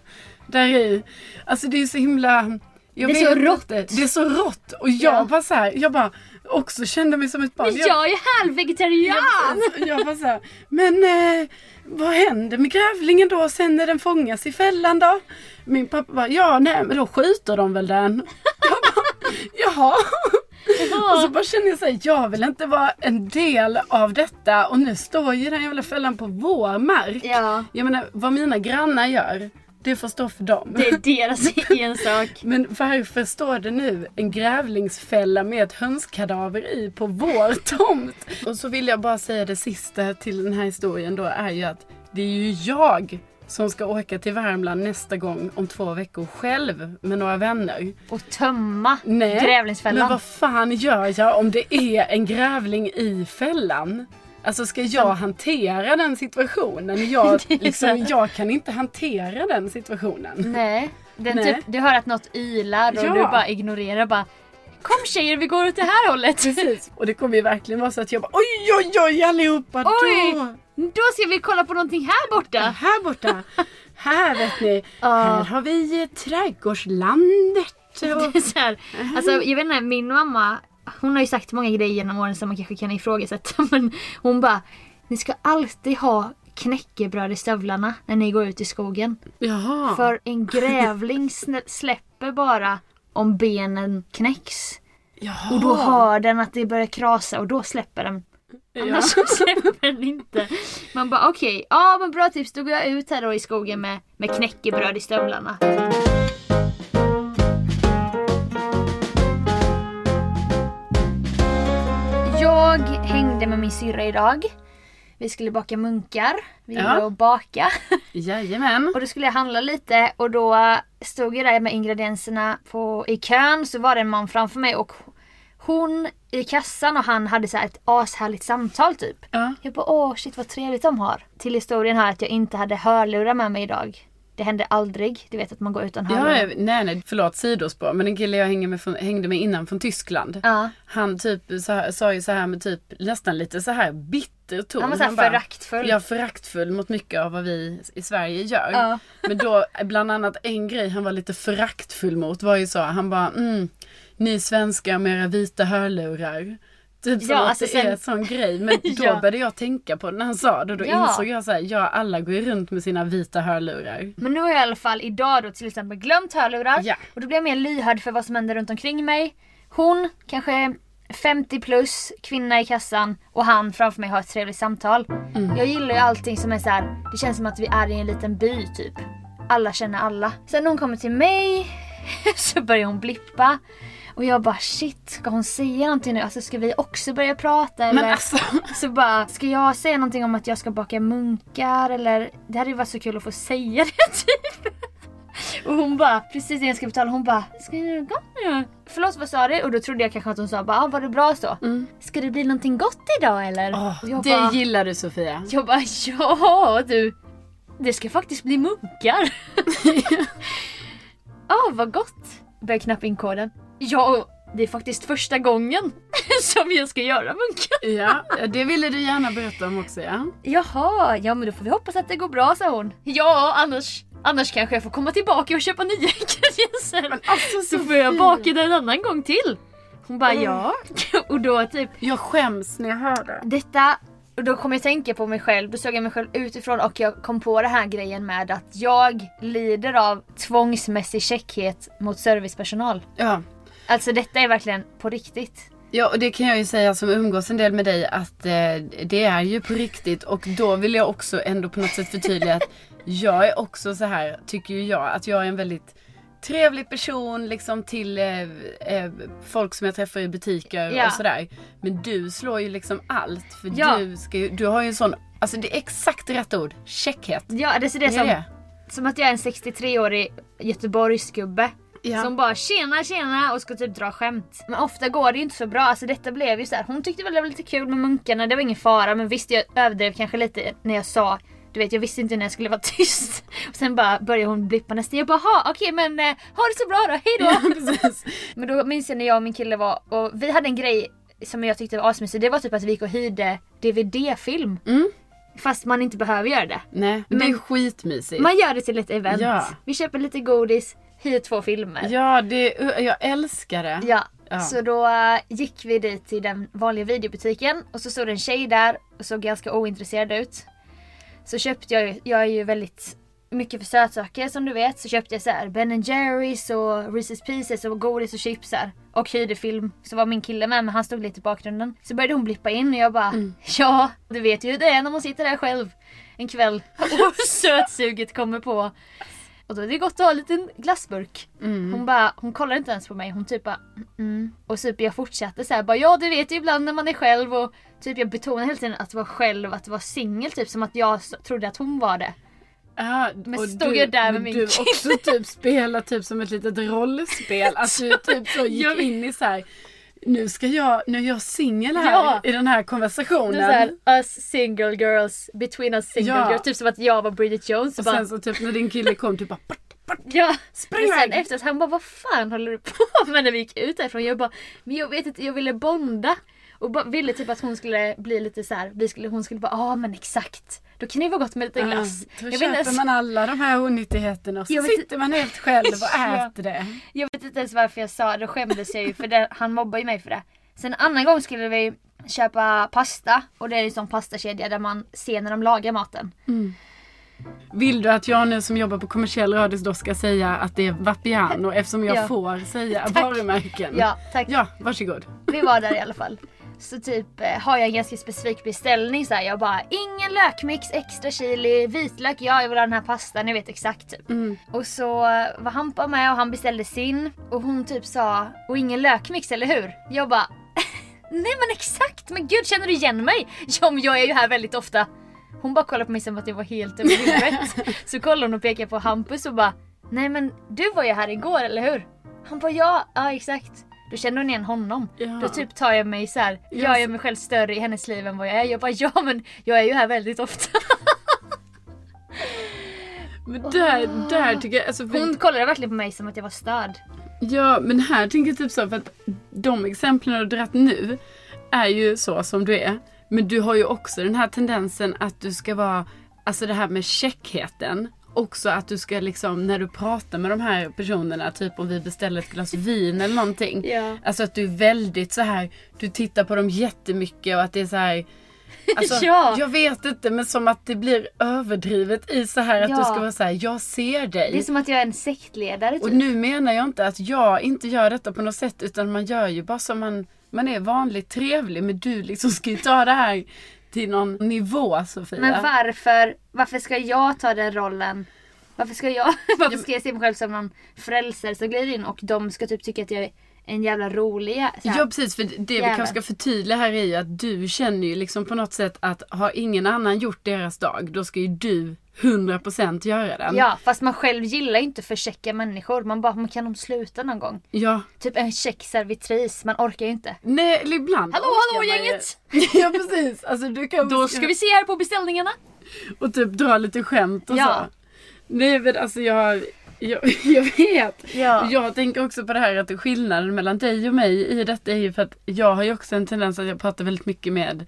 [SPEAKER 1] där i. Alltså det är så himla. jag
[SPEAKER 2] Det är så
[SPEAKER 1] vet
[SPEAKER 2] rått.
[SPEAKER 1] inte. Det är så rått. Och jag
[SPEAKER 2] Ja.
[SPEAKER 1] bara så här, jag bara också kände mig som ett barn. Jag-
[SPEAKER 2] Jag är halvvegetarian!
[SPEAKER 1] jag, jag bara såhär, men eh, vad händer med grävlingen då sen när den fångas i fällan då? Min pappa bara, ja nej men då skjuter de väl den. Jag bara, Jaha, och så bara känner jag såhär, jag vill inte vara en del av detta och nu står ju den jävla fällan på vår mark.
[SPEAKER 2] Ja.
[SPEAKER 1] Jag menar, vad mina grannar gör, det får stå för dem.
[SPEAKER 2] Det är deras [LAUGHS] egen sak.
[SPEAKER 1] Men varför står det nu en grävlingsfälla med ett hönskadaver i på vår [LAUGHS] tomt? Och så vill jag bara säga det sista till den här historien då är ju att det är ju jag som ska åka till Värmland nästa gång om två veckor själv med några vänner.
[SPEAKER 2] Och tömma
[SPEAKER 1] Nej,
[SPEAKER 2] Grävlingsfällan.
[SPEAKER 1] men vad fan gör jag om det är en grävling i fällan? Alltså ska jag hantera den situationen? Jag, liksom, jag kan inte hantera den situationen.
[SPEAKER 2] Nej. Den
[SPEAKER 1] Nej.
[SPEAKER 2] Typ, du hör att något ylar och
[SPEAKER 1] Ja.
[SPEAKER 2] du bara ignorerar bara Kom tjejer vi går åt det här hållet.
[SPEAKER 1] Precis. Och det kommer ju verkligen vara så att jag bara oj oj oj allihopa
[SPEAKER 2] [LAUGHS] Oj!
[SPEAKER 1] då!
[SPEAKER 2] Då ska vi kolla på någonting här borta.
[SPEAKER 1] Här borta! Här vet ni, här har vi eh, trädgårdslandet. Och...
[SPEAKER 2] Det är så här. Alltså jag vet inte, min mamma hon har ju sagt många grejer genom åren som man kanske kan ifrågasätta [LAUGHS] men hon bara Ni ska alltid ha knäckebröd i stövlarna när ni går ut i skogen.
[SPEAKER 1] Jaha.
[SPEAKER 2] För en grävling snä- släpper bara om benen knäcks.
[SPEAKER 1] Jaha.
[SPEAKER 2] Och då hör den att det börjar krasa och då släpper den.
[SPEAKER 1] ja.
[SPEAKER 2] Annars så släpper den inte. Man bara okej, ja men bra tips. Då går jag ut här då i skogen med, med knäckebröd i stövlarna. Jag hängde med min syrra idag. Vi skulle baka munkar. Vi
[SPEAKER 1] Ja.
[SPEAKER 2] gillar att baka.
[SPEAKER 1] Jajamän.
[SPEAKER 2] Och då skulle jag handla lite och då stod jag där med ingredienserna på, i kön så var det en man framför mig och hon i kassan och han hade så här ett ashärligt samtal typ.
[SPEAKER 1] Ja.
[SPEAKER 2] Jag bara åh shit vad trevligt de har. Till historien här att jag inte hade hörlurar med mig idag. Det hände aldrig. Du vet att man går utan
[SPEAKER 1] Ja,
[SPEAKER 2] hörlurar.
[SPEAKER 1] jag- nej, nej, förlåt sidospår. Men en kille jag hängde med, från, hängde med innan från Tyskland.
[SPEAKER 2] Ja.
[SPEAKER 1] Han typ så här, sa ju så här med typ nästan lite så här bitter ton.
[SPEAKER 2] Han var så här
[SPEAKER 1] bara,
[SPEAKER 2] föraktfull.
[SPEAKER 1] Ja, föraktfull mot mycket av vad vi i Sverige gör.
[SPEAKER 2] Ja.
[SPEAKER 1] Men då, bland annat en grej han var lite föraktfull mot var ju så, han bara mm, ni svenskar med era vita hörlurar. Typ som
[SPEAKER 2] Ja,
[SPEAKER 1] att
[SPEAKER 2] alltså
[SPEAKER 1] det
[SPEAKER 2] sen-
[SPEAKER 1] är en sån grej.
[SPEAKER 2] [LAUGHS]
[SPEAKER 1] Men då
[SPEAKER 2] Ja.
[SPEAKER 1] började jag tänka på det när han sa det. Då
[SPEAKER 2] Ja.
[SPEAKER 1] insåg jag så här, ja alla går ju runt med sina vita hörlurar.
[SPEAKER 2] Men nu har jag i alla fall idag då till exempel glömt hörlurar.
[SPEAKER 1] Ja.
[SPEAKER 2] Och då blir jag mer lyhörd för vad som händer runt omkring mig. Hon, kanske 50 plus, kvinna i kassan och han framför mig har ett trevligt samtal.
[SPEAKER 1] Mm.
[SPEAKER 2] Jag gillar ju allting som är så här. det känns som att vi är i en liten by typ. Alla känner alla. Sen när hon kommer till mig [LAUGHS] så börjar hon blippa. Och jag bara shit, ska hon säga någonting nu? Alltså ska vi också börja prata eller?
[SPEAKER 1] Men
[SPEAKER 2] [LAUGHS]
[SPEAKER 1] alltså,
[SPEAKER 2] Så bara, ska jag säga någonting om att jag ska baka munkar eller? Det hade ju varit så kul att få säga det [LAUGHS] typ. Och hon bara, precis när jag ska betala, hon bara Ska jag göra något gott nu? Förlåt vad sa du? Och då trodde jag kanske att hon sa bara, ah, var det bra så? Ska det bli någonting gott idag eller?
[SPEAKER 1] Mm. åh,
[SPEAKER 2] Och jag,
[SPEAKER 1] det
[SPEAKER 2] bara,
[SPEAKER 1] gillar du Sofia.
[SPEAKER 2] jag bara, ja du! Det ska faktiskt
[SPEAKER 1] [LAUGHS]
[SPEAKER 2] bli munkar! Ja, ah, vad gott! Börjar knappa in koden. Ja, det är faktiskt första gången [LAUGHS] som jag ska göra munkar.
[SPEAKER 1] Ja, det ville du gärna berätta om också ja.
[SPEAKER 2] Jaha, ja men då får vi hoppas att det går bra sa hon. Ja, annars, annars kanske jag får komma tillbaka och köpa nya [LAUGHS] ingredienser.
[SPEAKER 1] Alltså
[SPEAKER 2] Så får jag baka den en annan gång till. Hon bara
[SPEAKER 1] Mm.
[SPEAKER 2] ja. [LAUGHS] Och då typ
[SPEAKER 1] Jag skäms när jag hör det.
[SPEAKER 2] detta, och då kom jag tänka på mig själv, då såg jag mig själv utifrån och jag kom på den här grejen med att jag lider av tvångsmässig käckhet mot servicepersonal.
[SPEAKER 1] Ja.
[SPEAKER 2] Alltså detta är verkligen på riktigt.
[SPEAKER 1] Ja och det kan jag ju säga som umgås en del med dig att eh, det är ju på riktigt och då vill jag också ändå på något sätt förtydliga att jag är också så här, tycker ju jag, att jag är en väldigt trevlig person liksom till eh, eh, folk som jag träffar i butiker
[SPEAKER 2] Ja.
[SPEAKER 1] och sådär. Men du slår ju liksom allt för
[SPEAKER 2] Ja.
[SPEAKER 1] du, ska ju, du har ju en sån, alltså det är exakt rätt ord, käckhet.
[SPEAKER 2] Ja, det är så det är
[SPEAKER 1] Är
[SPEAKER 2] som,
[SPEAKER 1] det?
[SPEAKER 2] som att jag är en 63-årig Göteborgsgubbe.
[SPEAKER 1] Ja.
[SPEAKER 2] Som bara tjena tjena och ska typ dra skämt. Men ofta går det ju inte så bra. Alltså detta blev ju så här. hon tyckte väl det var lite kul med munkarna, det var ingen fara. Men visst jag överdrev kanske lite när jag sa du vet jag visste inte när jag skulle vara [LAUGHS] tyst. Och sen bara började hon blippa nästa. Jag bara "Ha, okej men eh, ha det så bra då, hejdå!
[SPEAKER 1] [LAUGHS] Precis.
[SPEAKER 2] [LAUGHS] Men då minns jag när jag och min kille var och vi hade en grej som jag tyckte var asmysig. Det var typ att vi gick och hyrde DVD-film.
[SPEAKER 1] Mm.
[SPEAKER 2] Fast man inte behöver göra det.
[SPEAKER 1] Nej, men det är
[SPEAKER 2] Men-
[SPEAKER 1] skitmysigt.
[SPEAKER 2] Man gör det till ett event.
[SPEAKER 1] Eh. Ja.
[SPEAKER 2] Vi köper lite godis, hyr två filmer.
[SPEAKER 1] Ja, det, jag älskar det.
[SPEAKER 2] Ja,
[SPEAKER 1] Ja.
[SPEAKER 2] så då eh, gick vi dit till den vanliga videobutiken och så stod det en tjej där och såg ganska ointresserad ut. Så köpte jag, ju- jag är ju väldigt mycket för sötsaker som du vet, så köpte jag så här Ben Jerrys och Reese's Pieces och godis och chips här. Och hyrde film. Så var min kille med men han stod lite i bakgrunden. Så började hon blippa in och jag bara [LAUGHS] Ja, du vet ju hur det är när man sitter där själv en kväll [LAUGHS] och sötsuget kommer på. Och då är det gott att ha en liten glassburk. Hon bara, hon kollar inte ens på mig. Hon typ bara, "Mm, mm. Och typ jag fortsatte så här, bara ja du vet ju ibland när man är själv och typ jag betonar hela tiden att vara själv, att vara singel typ som att jag s- trodde att hon var det.
[SPEAKER 1] Ja,
[SPEAKER 2] Men
[SPEAKER 1] och
[SPEAKER 2] stod
[SPEAKER 1] du,
[SPEAKER 2] jag där med
[SPEAKER 1] men
[SPEAKER 2] min
[SPEAKER 1] du
[SPEAKER 2] kille?
[SPEAKER 1] också typ spelar typ som ett litet rollspel. Att
[SPEAKER 2] [LAUGHS]
[SPEAKER 1] du typ så gick
[SPEAKER 2] Jag vet.
[SPEAKER 1] in i så här. Nu ska jag, nu är jag singel här
[SPEAKER 2] Ja.
[SPEAKER 1] i den här konversationen.
[SPEAKER 2] Det är såhär, us single girls, between us single
[SPEAKER 1] Ja.
[SPEAKER 2] girls. Typ som att jag var Bridget Jones. Och
[SPEAKER 1] och
[SPEAKER 2] bara,
[SPEAKER 1] sen så typ när din kille kom typ bara
[SPEAKER 2] ja.
[SPEAKER 1] spring
[SPEAKER 2] Men sen
[SPEAKER 1] iväg.
[SPEAKER 2] efteråt han bara, vad fan håller du på [LAUGHS] med när vi gick ut därifrån? Jag bara, men jag vet inte, jag ville bonda. Och bara, ville typ att hon skulle bli lite så här, vi skulle, hon skulle bara, ja ah, men exakt. Då kan det ju vara gott med lite glass.
[SPEAKER 1] Ja, då
[SPEAKER 2] jag, vet
[SPEAKER 1] köper
[SPEAKER 2] inte, ens-
[SPEAKER 1] man alla de här onyttigheterna och så
[SPEAKER 2] Jag vet-
[SPEAKER 1] sitter man helt själv och
[SPEAKER 2] [LAUGHS] Ja.
[SPEAKER 1] äter det.
[SPEAKER 2] jag vet inte ens varför jag sa det, då skämdes jag ju för det, han mobbar ju mig för det. Sen en annan gång skulle vi köpa pasta och det är ju sån pastakedja där man ser när de lagar maten.
[SPEAKER 1] Vill du att jag nu som jobbar på kommersiell radio då ska säga att det är Vapiano eftersom jag
[SPEAKER 2] Ja.
[SPEAKER 1] får
[SPEAKER 2] [LAUGHS]
[SPEAKER 1] säga varumärken?
[SPEAKER 2] Ja, tack.
[SPEAKER 1] Ja, varsågod.
[SPEAKER 2] [LAUGHS] Vi var där i alla fall. Så typ eh, har jag en ganska specifik beställning så här. Jag bara ingen lökmix, extra chili, vitlök, ja jag vill ha den här pastan, ni vet exakt typ. Och så eh, var Hampa med och han beställde sin och hon typ sa och ingen lökmix eller hur? Jag bara [LAUGHS] nej men exakt, men gud känner du igen mig? [LAUGHS] Ja men jag är ju här väldigt ofta. Hon bara kollade på mig som att jag var helt över huvudet. Så kollade hon och pekade på Hampus och bara nej men du var ju här igår eller hur? Han bara ja, ja exakt. Då kände hon igen honom.
[SPEAKER 1] Ja.
[SPEAKER 2] Då typ tar jag mig så här. jag gör mig själv större i hennes liv än vad jag är. Jag bara ja men jag är ju här väldigt ofta.
[SPEAKER 1] Men där, där tycker jag, alltså, vi-
[SPEAKER 2] [LAUGHS] Hon kollade verkligen på mig som att jag var störd.
[SPEAKER 1] Ja, men här tänker jag typ så, för att de exemplen du har dragit nu är ju så som du är. Men du har ju också den här tendensen att du ska vara, alltså det här med käckheten. Också att du ska liksom, när du pratar med de här personerna, typ om vi beställer ett glas vin eller någonting.
[SPEAKER 2] Ja.
[SPEAKER 1] Alltså att du är väldigt så här, du tittar på dem jättemycket och att det är så
[SPEAKER 2] [LAUGHS]
[SPEAKER 1] här. Alltså,
[SPEAKER 2] Ja.
[SPEAKER 1] Jag vet inte men som att det blir överdrivet i så här att du
[SPEAKER 2] Ja.
[SPEAKER 1] ska vara så här, jag ser dig.
[SPEAKER 2] Det är som att jag är en sektledare
[SPEAKER 1] Och
[SPEAKER 2] typ.
[SPEAKER 1] nu menar jag inte att jag inte gör detta på något sätt utan man gör ju bara som man, man är vanligt trevlig men du liksom ska ju ta det här till någon nivå Sofia.
[SPEAKER 2] Men varför, varför ska jag ta den rollen? Varför ska jag, [LAUGHS] varför ska jag se mig själv som någon frälsare som glider in och de ska typ tycka att jag är en jävla rolig jä- så här.
[SPEAKER 1] Ja precis, för det vi
[SPEAKER 2] Jävel.
[SPEAKER 1] kanske ska förtydliga här är ju att du känner ju liksom på något sätt att har ingen annan gjort deras dag då ska ju du 100% göra den.
[SPEAKER 2] Ja, fast man själv gillar ju inte för checka människor. Man bara, man kan de sluta någon gång?
[SPEAKER 1] ja.
[SPEAKER 2] Typ en check servitris, man orkar ju inte.
[SPEAKER 1] Nej, eller ibland
[SPEAKER 2] Hallå,
[SPEAKER 1] orkar
[SPEAKER 2] hallå,
[SPEAKER 1] man ju- [LAUGHS]
[SPEAKER 2] gänget!
[SPEAKER 1] ja precis. Alltså, du kan
[SPEAKER 2] Då ska vi se här på beställningarna.
[SPEAKER 1] Och typ dra lite skämt och
[SPEAKER 2] Ja.
[SPEAKER 1] så. Nej men alltså jag, jag, [LAUGHS] jag vet.
[SPEAKER 2] Ja.
[SPEAKER 1] Jag tänker också på det här att skillnaden mellan dig och mig i detta är ju för att jag har ju också en tendens att jag pratar väldigt mycket med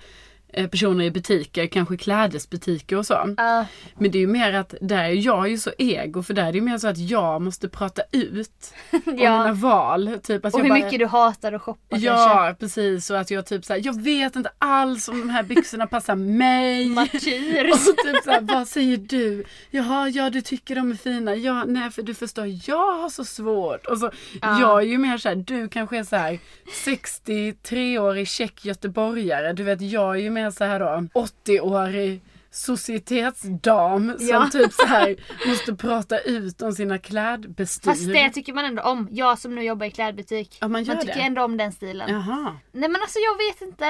[SPEAKER 1] eh, personer i butiker, kanske klädesbutiker och så.
[SPEAKER 2] Ja,
[SPEAKER 1] Men det är ju mer att där är jag ju så ego för där är det ju mer så att jag måste prata
[SPEAKER 2] [LAUGHS]
[SPEAKER 1] ut om mina
[SPEAKER 2] ja.
[SPEAKER 1] val. Typ att
[SPEAKER 2] Och
[SPEAKER 1] jag
[SPEAKER 2] hur
[SPEAKER 1] bara,
[SPEAKER 2] mycket du hatar att shoppa kanske.
[SPEAKER 1] Ja precis och att jag typ såhär, jag vet inte alls om de här byxorna passar
[SPEAKER 2] [LAUGHS]
[SPEAKER 1] mig. [LAUGHS]
[SPEAKER 2] Martyr.
[SPEAKER 1] Och så typ såhär, vad säger du? Jaha, ja du tycker de är fina. Ja, nej för du förstår, jag har så svårt. Och så, jag är ju mer såhär, du kanske är såhär 63-årig tjeck göteborgare. Du vet, jag är ju mer såhär då 80-årig societetsdam som
[SPEAKER 2] Ja.
[SPEAKER 1] typ så här måste prata ut om sina klädbestyr.
[SPEAKER 2] Fast det tycker man ändå om. Jag som nu jobbar i klädbutik.
[SPEAKER 1] Ja, man gör
[SPEAKER 2] tycker
[SPEAKER 1] det.
[SPEAKER 2] ändå om den stilen.
[SPEAKER 1] Jaha.
[SPEAKER 2] Nej men alltså jag vet inte.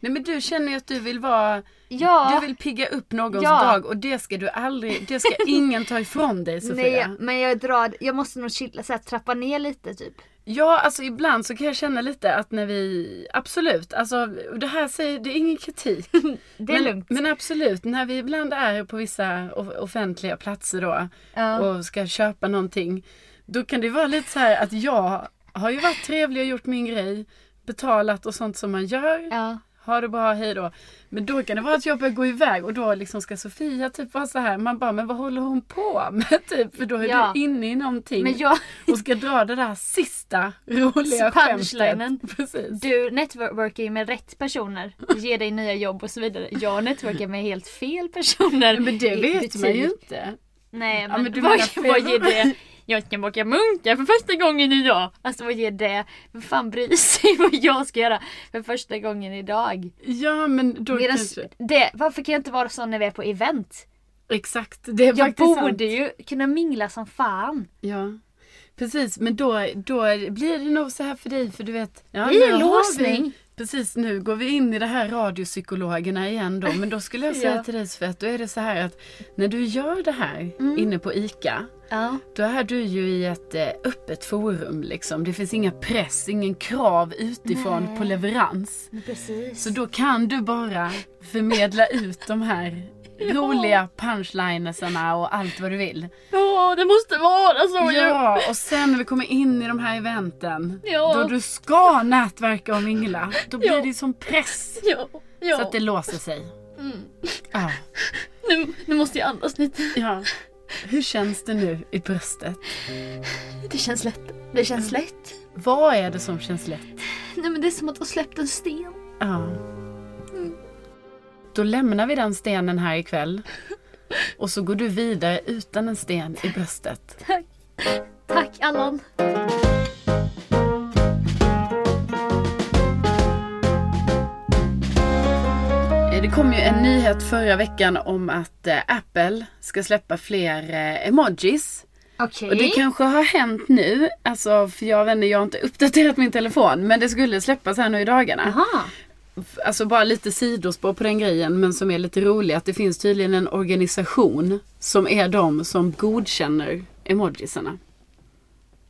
[SPEAKER 1] Nej men du känner ju att du vill vara
[SPEAKER 2] Ja.
[SPEAKER 1] Du vill pigga upp någons
[SPEAKER 2] Ja.
[SPEAKER 1] dag och det ska du aldrig, det ska ingen ta ifrån dig Sofia.
[SPEAKER 2] Nej, men jag drar, jag måste nog chilla, så här, trappa ner lite typ.
[SPEAKER 1] Ja, alltså ibland så kan jag känna lite att när vi, absolut, alltså det här säger, det är ingen kritik.
[SPEAKER 2] [LAUGHS] Det är
[SPEAKER 1] men,
[SPEAKER 2] lugnt.
[SPEAKER 1] Men absolut, när vi ibland är på vissa off- offentliga platser då
[SPEAKER 2] Ja.
[SPEAKER 1] och ska köpa någonting. Då kan det vara lite så här att jag har ju varit trevlig och gjort min grej, betalat och sånt som man gör.
[SPEAKER 2] Ja.
[SPEAKER 1] Ha det bra, hej då. Men då kan det vara att jag börjar gå iväg och då liksom ska Sofia typ vara så här. Man bara, men vad håller hon på med? [LAUGHS] Typ, för då är
[SPEAKER 2] Ja.
[SPEAKER 1] du inne i någonting
[SPEAKER 2] Men jag,
[SPEAKER 1] och ska dra det där sista roliga
[SPEAKER 2] Punchlinen.
[SPEAKER 1] skämtet. Precis.
[SPEAKER 2] du networkar ju med rätt personer. Ger dig nya jobb och så vidare. Jag networkar med helt fel personer.
[SPEAKER 1] Men det typ-
[SPEAKER 2] i
[SPEAKER 1] vet
[SPEAKER 2] butik.
[SPEAKER 1] man ju inte.
[SPEAKER 2] Nej men,
[SPEAKER 1] men du
[SPEAKER 2] vad,
[SPEAKER 1] menar
[SPEAKER 2] vad
[SPEAKER 1] fel.
[SPEAKER 2] ger det? Jag ska baka munkar för första gången idag. Alltså vad ger det? Vem fan bryr sig [LAUGHS] vad jag ska göra för första gången idag?
[SPEAKER 1] Ja men då
[SPEAKER 2] Medan
[SPEAKER 1] kanske.
[SPEAKER 2] det, varför kan jag inte vara sån när vi är på event?
[SPEAKER 1] Exakt, det är
[SPEAKER 2] Jag
[SPEAKER 1] faktiskt sant.
[SPEAKER 2] borde ju kunna mingla som fan.
[SPEAKER 1] Ja. Precis, men då, då blir det nog så här för dig för du vet. Ja,
[SPEAKER 2] Vi är
[SPEAKER 1] nu har
[SPEAKER 2] låsning.
[SPEAKER 1] Precis nu går vi in i det här radiopsykologerna igen då. Men då skulle [LAUGHS] jag säga
[SPEAKER 2] Ja.
[SPEAKER 1] till dig Svett, då är det så här att när du gör det här inne på ICA.
[SPEAKER 2] Ja.
[SPEAKER 1] Då är du ju i ett eh, öppet forum liksom. Det finns inga press, ingen krav utifrån på leverans.
[SPEAKER 2] Precis.
[SPEAKER 1] Så då kan du bara förmedla ut de
[SPEAKER 2] [LAUGHS]
[SPEAKER 1] här roliga punchlinesarna och allt vad du vill.
[SPEAKER 2] Ja, det måste vara så ju.
[SPEAKER 1] Ja, och sen när vi kommer in i de här eventen
[SPEAKER 2] Ja.
[SPEAKER 1] då du ska nätverka och mingla, då blir
[SPEAKER 2] Ja.
[SPEAKER 1] det ju som press.
[SPEAKER 2] Ja, ja.
[SPEAKER 1] Så att det låser sig.
[SPEAKER 2] Mm.
[SPEAKER 1] Ja.
[SPEAKER 2] Nu, nu måste jag andas lite.
[SPEAKER 1] ja. Hur känns det nu i bröstet?
[SPEAKER 2] Det känns lätt. Det känns lätt.
[SPEAKER 1] Vad är det som känns lätt?
[SPEAKER 2] Nej men det är som att ha släppt en sten.
[SPEAKER 1] Ja. Då lämnar vi den stenen här ikväll. Och så går du vidare utan en sten i bröstet.
[SPEAKER 2] Tack. Tack Allan.
[SPEAKER 1] Eh, Det kom ju en nyhet förra veckan om att eh, Apple ska släppa fler eh, emojis.
[SPEAKER 2] Okej.
[SPEAKER 1] Och det kanske har hänt nu, alltså för jag vet inte, jag har inte uppdaterat min telefon. Men det skulle släppas här nu i dagarna.
[SPEAKER 2] Jaha.
[SPEAKER 1] Alltså bara lite sidospår på den grejen men som är lite rolig att det finns tydligen en organisation som är de som godkänner emojisarna.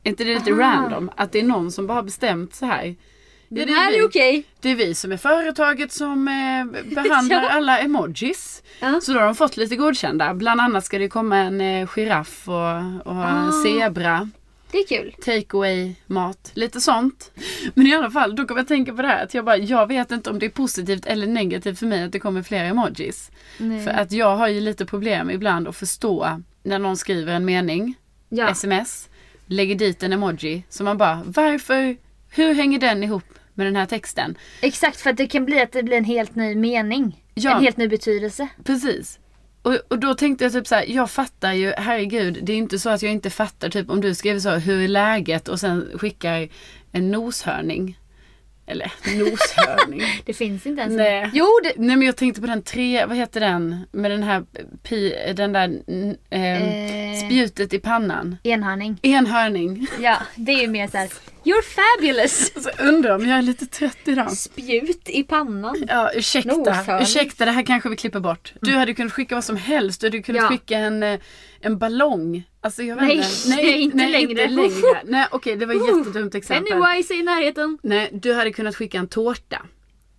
[SPEAKER 1] Är inte det lite random? Att det är någon som bara har bestämt så här. Ja,
[SPEAKER 2] Det
[SPEAKER 1] det,
[SPEAKER 2] här
[SPEAKER 1] vi,
[SPEAKER 2] är okej.
[SPEAKER 1] det är vi som är företaget som eh, behandlar
[SPEAKER 2] [LAUGHS] Ja.
[SPEAKER 1] alla emojis.
[SPEAKER 2] Ja.
[SPEAKER 1] Så då har de fått lite godkända. Bland annat ska det komma en eh, giraff och, och en
[SPEAKER 2] Ah.
[SPEAKER 1] zebra
[SPEAKER 2] Det är kul.
[SPEAKER 1] takeaway mat, lite sånt. Men i alla fall, då kommer jag tänka på det här att jag bara, jag vet inte om det är positivt eller negativt för mig att det kommer fler emojis. För att jag har ju lite problem ibland att förstå när någon skriver en mening,
[SPEAKER 2] Ja.
[SPEAKER 1] sms, lägger dit en emoji. Så man bara, varför, hur hänger den ihop med den här texten?
[SPEAKER 2] Exakt för att det kan bli att det blir en helt ny mening.
[SPEAKER 1] Ja.
[SPEAKER 2] En helt ny betydelse.
[SPEAKER 1] Precis. Och, och då tänkte jag typ så här, jag fattar ju, herregud, det är inte så att jag inte fattar typ om du skriver så, här, hur är läget? Och sen skickar en noshörning. Eller [LAUGHS] noshörning.
[SPEAKER 2] Det finns inte ens
[SPEAKER 1] Nej.
[SPEAKER 2] Jo det...
[SPEAKER 1] Nej men jag tänkte på den tre, vad heter den? Med den här, pi, den där n- ehm,
[SPEAKER 2] Eh.
[SPEAKER 1] spjutet i pannan.
[SPEAKER 2] Enhörning.
[SPEAKER 1] Enhörning. [LAUGHS]
[SPEAKER 2] Ja, det är ju mer såhär You're fabulous!
[SPEAKER 1] Alltså undrar om jag är lite trött idag.
[SPEAKER 2] Spjut i pannan.
[SPEAKER 1] Ja, ursäkta.
[SPEAKER 2] Noshörning.
[SPEAKER 1] Ursäkta, det här kanske vi klipper bort. Du hade kunnat skicka vad som helst. Du hade kunnat
[SPEAKER 2] Mm. Ja.
[SPEAKER 1] skicka en, eh, en ballong. Alltså, jag vet
[SPEAKER 2] Nej,
[SPEAKER 1] inte.
[SPEAKER 2] nej, inte längre.
[SPEAKER 1] Inte
[SPEAKER 2] [LAUGHS]
[SPEAKER 1] längre. nej, okej, det var ett
[SPEAKER 2] Uh,
[SPEAKER 1] jättedumt exempel.
[SPEAKER 2] Pennywise är i närheten.
[SPEAKER 1] Nej, du hade kunnat skicka en tårta.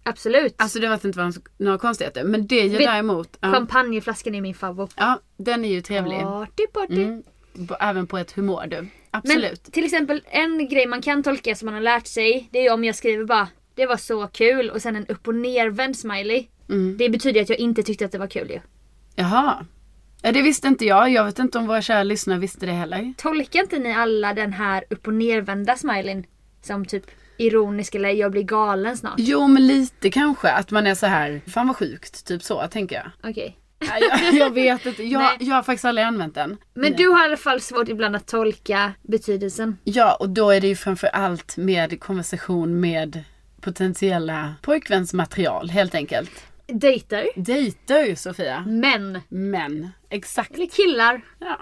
[SPEAKER 2] Absolut.
[SPEAKER 1] Alltså det var inte vad- några konstigheter. Men det är ju
[SPEAKER 2] Vi-
[SPEAKER 1] däremot. Ja,
[SPEAKER 2] Champagneflaskan är min favorit.
[SPEAKER 1] ja, den är ju trevlig.
[SPEAKER 2] Party party.
[SPEAKER 1] Mm. B- Även på ett humör du.
[SPEAKER 2] Men
[SPEAKER 1] Absolut.
[SPEAKER 2] till exempel en grej man kan tolka som man har lärt sig. Det är ju om jag skriver bara det var så kul och sen en upp och nervänd smiley.
[SPEAKER 1] Mm.
[SPEAKER 2] Det betyder ju att jag inte tyckte att det var kul ju.
[SPEAKER 1] Jaha. Ja, det visste inte jag. Jag vet inte om våra kära lyssnare visste det heller.
[SPEAKER 2] Tolkar inte ni alla den här upp och nervända smileyn som typ ironisk eller jag blir galen snart?
[SPEAKER 1] Jo, men lite kanske. Att man är så här, fan vad sjukt. Typ så, tänker jag.
[SPEAKER 2] Okej.
[SPEAKER 1] Nej,
[SPEAKER 2] [LAUGHS]
[SPEAKER 1] jag, jag vet inte.
[SPEAKER 2] Nej.
[SPEAKER 1] Jag, jag har faktiskt aldrig använt den.
[SPEAKER 2] Men du har i alla fall svårt ibland att tolka betydelsen.
[SPEAKER 1] Ja, och då är det ju framför allt med konversation med potentiella pojkvänsmaterial helt enkelt.
[SPEAKER 2] Dejter.
[SPEAKER 1] Dejter Sofia.
[SPEAKER 2] Män.
[SPEAKER 1] Men, exakt.
[SPEAKER 2] Eller killar.
[SPEAKER 1] Ja.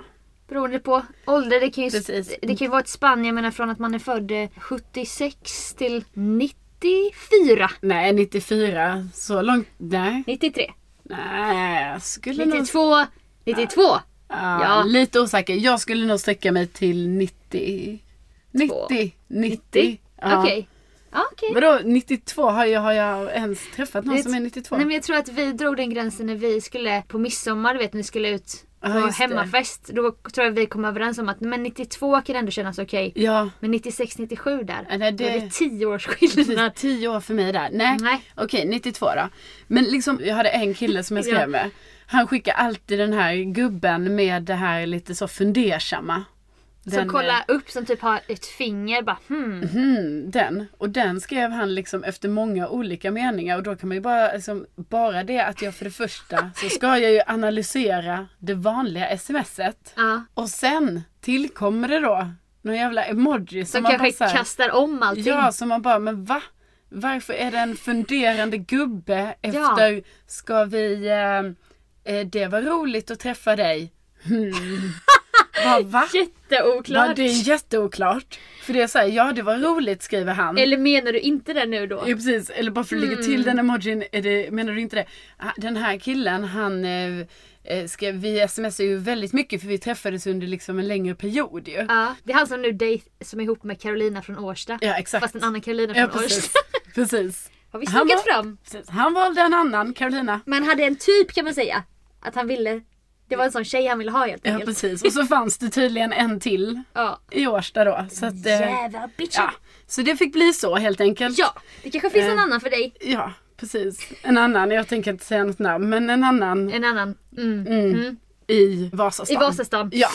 [SPEAKER 2] Beroende på ålder. Det kan ju,
[SPEAKER 1] Precis.
[SPEAKER 2] det kan ju vara ett spann. Jag menar från att man är född eh, 76 till 94.
[SPEAKER 1] Nej, 94. Så långt, nej.
[SPEAKER 2] 93.
[SPEAKER 1] Nej, jag skulle nog...
[SPEAKER 2] 92. 92.
[SPEAKER 1] Ja,
[SPEAKER 2] Ja.
[SPEAKER 1] Lite osäker. Jag skulle nog sträcka mig till 90. 90. 90.
[SPEAKER 2] Okej.
[SPEAKER 1] Ja.
[SPEAKER 2] Ja, okej.
[SPEAKER 1] Vadå 92? Har jag, har jag ens träffat någon
[SPEAKER 2] Det-
[SPEAKER 1] som är 92?
[SPEAKER 2] Nej men jag tror att vi drog den gränsen när vi skulle på midsommar, du vet när vi skulle ut på
[SPEAKER 1] Ja, just det.
[SPEAKER 2] hemmafest. Då tror jag vi kom överens om att men 92 kan ändå kännas okej.
[SPEAKER 1] Ja.
[SPEAKER 2] Men 96-97 där,
[SPEAKER 1] Ja, nej,
[SPEAKER 2] då är
[SPEAKER 1] det-
[SPEAKER 2] det 10 års
[SPEAKER 1] Precis,
[SPEAKER 2] skillnad.
[SPEAKER 1] tio år för mig där. Nej,
[SPEAKER 2] Nej.
[SPEAKER 1] okej 92 då. Men liksom, jag hade en kille som jag skrev
[SPEAKER 2] Ja.
[SPEAKER 1] med. Han skickar alltid den här gubben med det här lite så fundersamma. [LAUGHS] Den, eh,
[SPEAKER 2] Som kollar upp, som typ har ett finger bara hmm.
[SPEAKER 1] Hmm, den. Och den skrev han liksom efter många olika meningar och då kan man ju bara, liksom, bara det att jag för det första så ska jag ju analysera det vanliga smset.
[SPEAKER 2] Ja.
[SPEAKER 1] Och sen tillkommer det då någon jävla emoji som
[SPEAKER 2] Som
[SPEAKER 1] man bara
[SPEAKER 2] kanske
[SPEAKER 1] så här,
[SPEAKER 2] kastar om allting.
[SPEAKER 1] Ja, som man bara, men va? Varför är det en funderande gubbe efter,
[SPEAKER 2] [LAUGHS]
[SPEAKER 1] ska vi, eh, eh, det var roligt att träffa dig. Hmm. Bara, va? Bara,
[SPEAKER 2] Jätteoklart.
[SPEAKER 1] det är jätteoklart. För det är såhär, ja det var roligt skriver han.
[SPEAKER 2] Eller Mm. menar du inte det nu då?
[SPEAKER 1] Ja, precis, eller bara för att lägga till den emojin, är det, menar du inte det? Ah, Den här killen han eh, eh, skrev, vi smsar ju väldigt mycket för vi träffades under liksom en längre period ju.
[SPEAKER 2] Ja, det är han som nu dejt, som är ihop med Carolina från Årsta.
[SPEAKER 1] Ja exakt.
[SPEAKER 2] Fast en annan Carolina
[SPEAKER 1] ja,
[SPEAKER 2] från
[SPEAKER 1] precis.
[SPEAKER 2] Årsta.
[SPEAKER 1] precis.
[SPEAKER 2] [LAUGHS] Har vi
[SPEAKER 1] Han
[SPEAKER 2] snackat
[SPEAKER 1] var-
[SPEAKER 2] fram?
[SPEAKER 1] precis. Han valde en annan, Carolina.
[SPEAKER 2] Men hade en typ kan man säga. Att han ville. Det var en sån tjej han ville ha helt
[SPEAKER 1] Ja
[SPEAKER 2] enkelt.
[SPEAKER 1] precis. Och så fanns det tydligen en till
[SPEAKER 2] Ja.
[SPEAKER 1] i Årsta då. Så att, eh,
[SPEAKER 2] Jävla bitchen.
[SPEAKER 1] ja. Så det fick bli så helt enkelt.
[SPEAKER 2] Ja, det kanske finns en
[SPEAKER 1] Eh.
[SPEAKER 2] annan för dig.
[SPEAKER 1] Ja, precis. En annan, jag tänker inte säga något namn, men en annan
[SPEAKER 2] En annan. Mm.
[SPEAKER 1] Mm.
[SPEAKER 2] Mm.
[SPEAKER 1] i Vasastan.
[SPEAKER 2] I Vasastan.
[SPEAKER 1] Ja.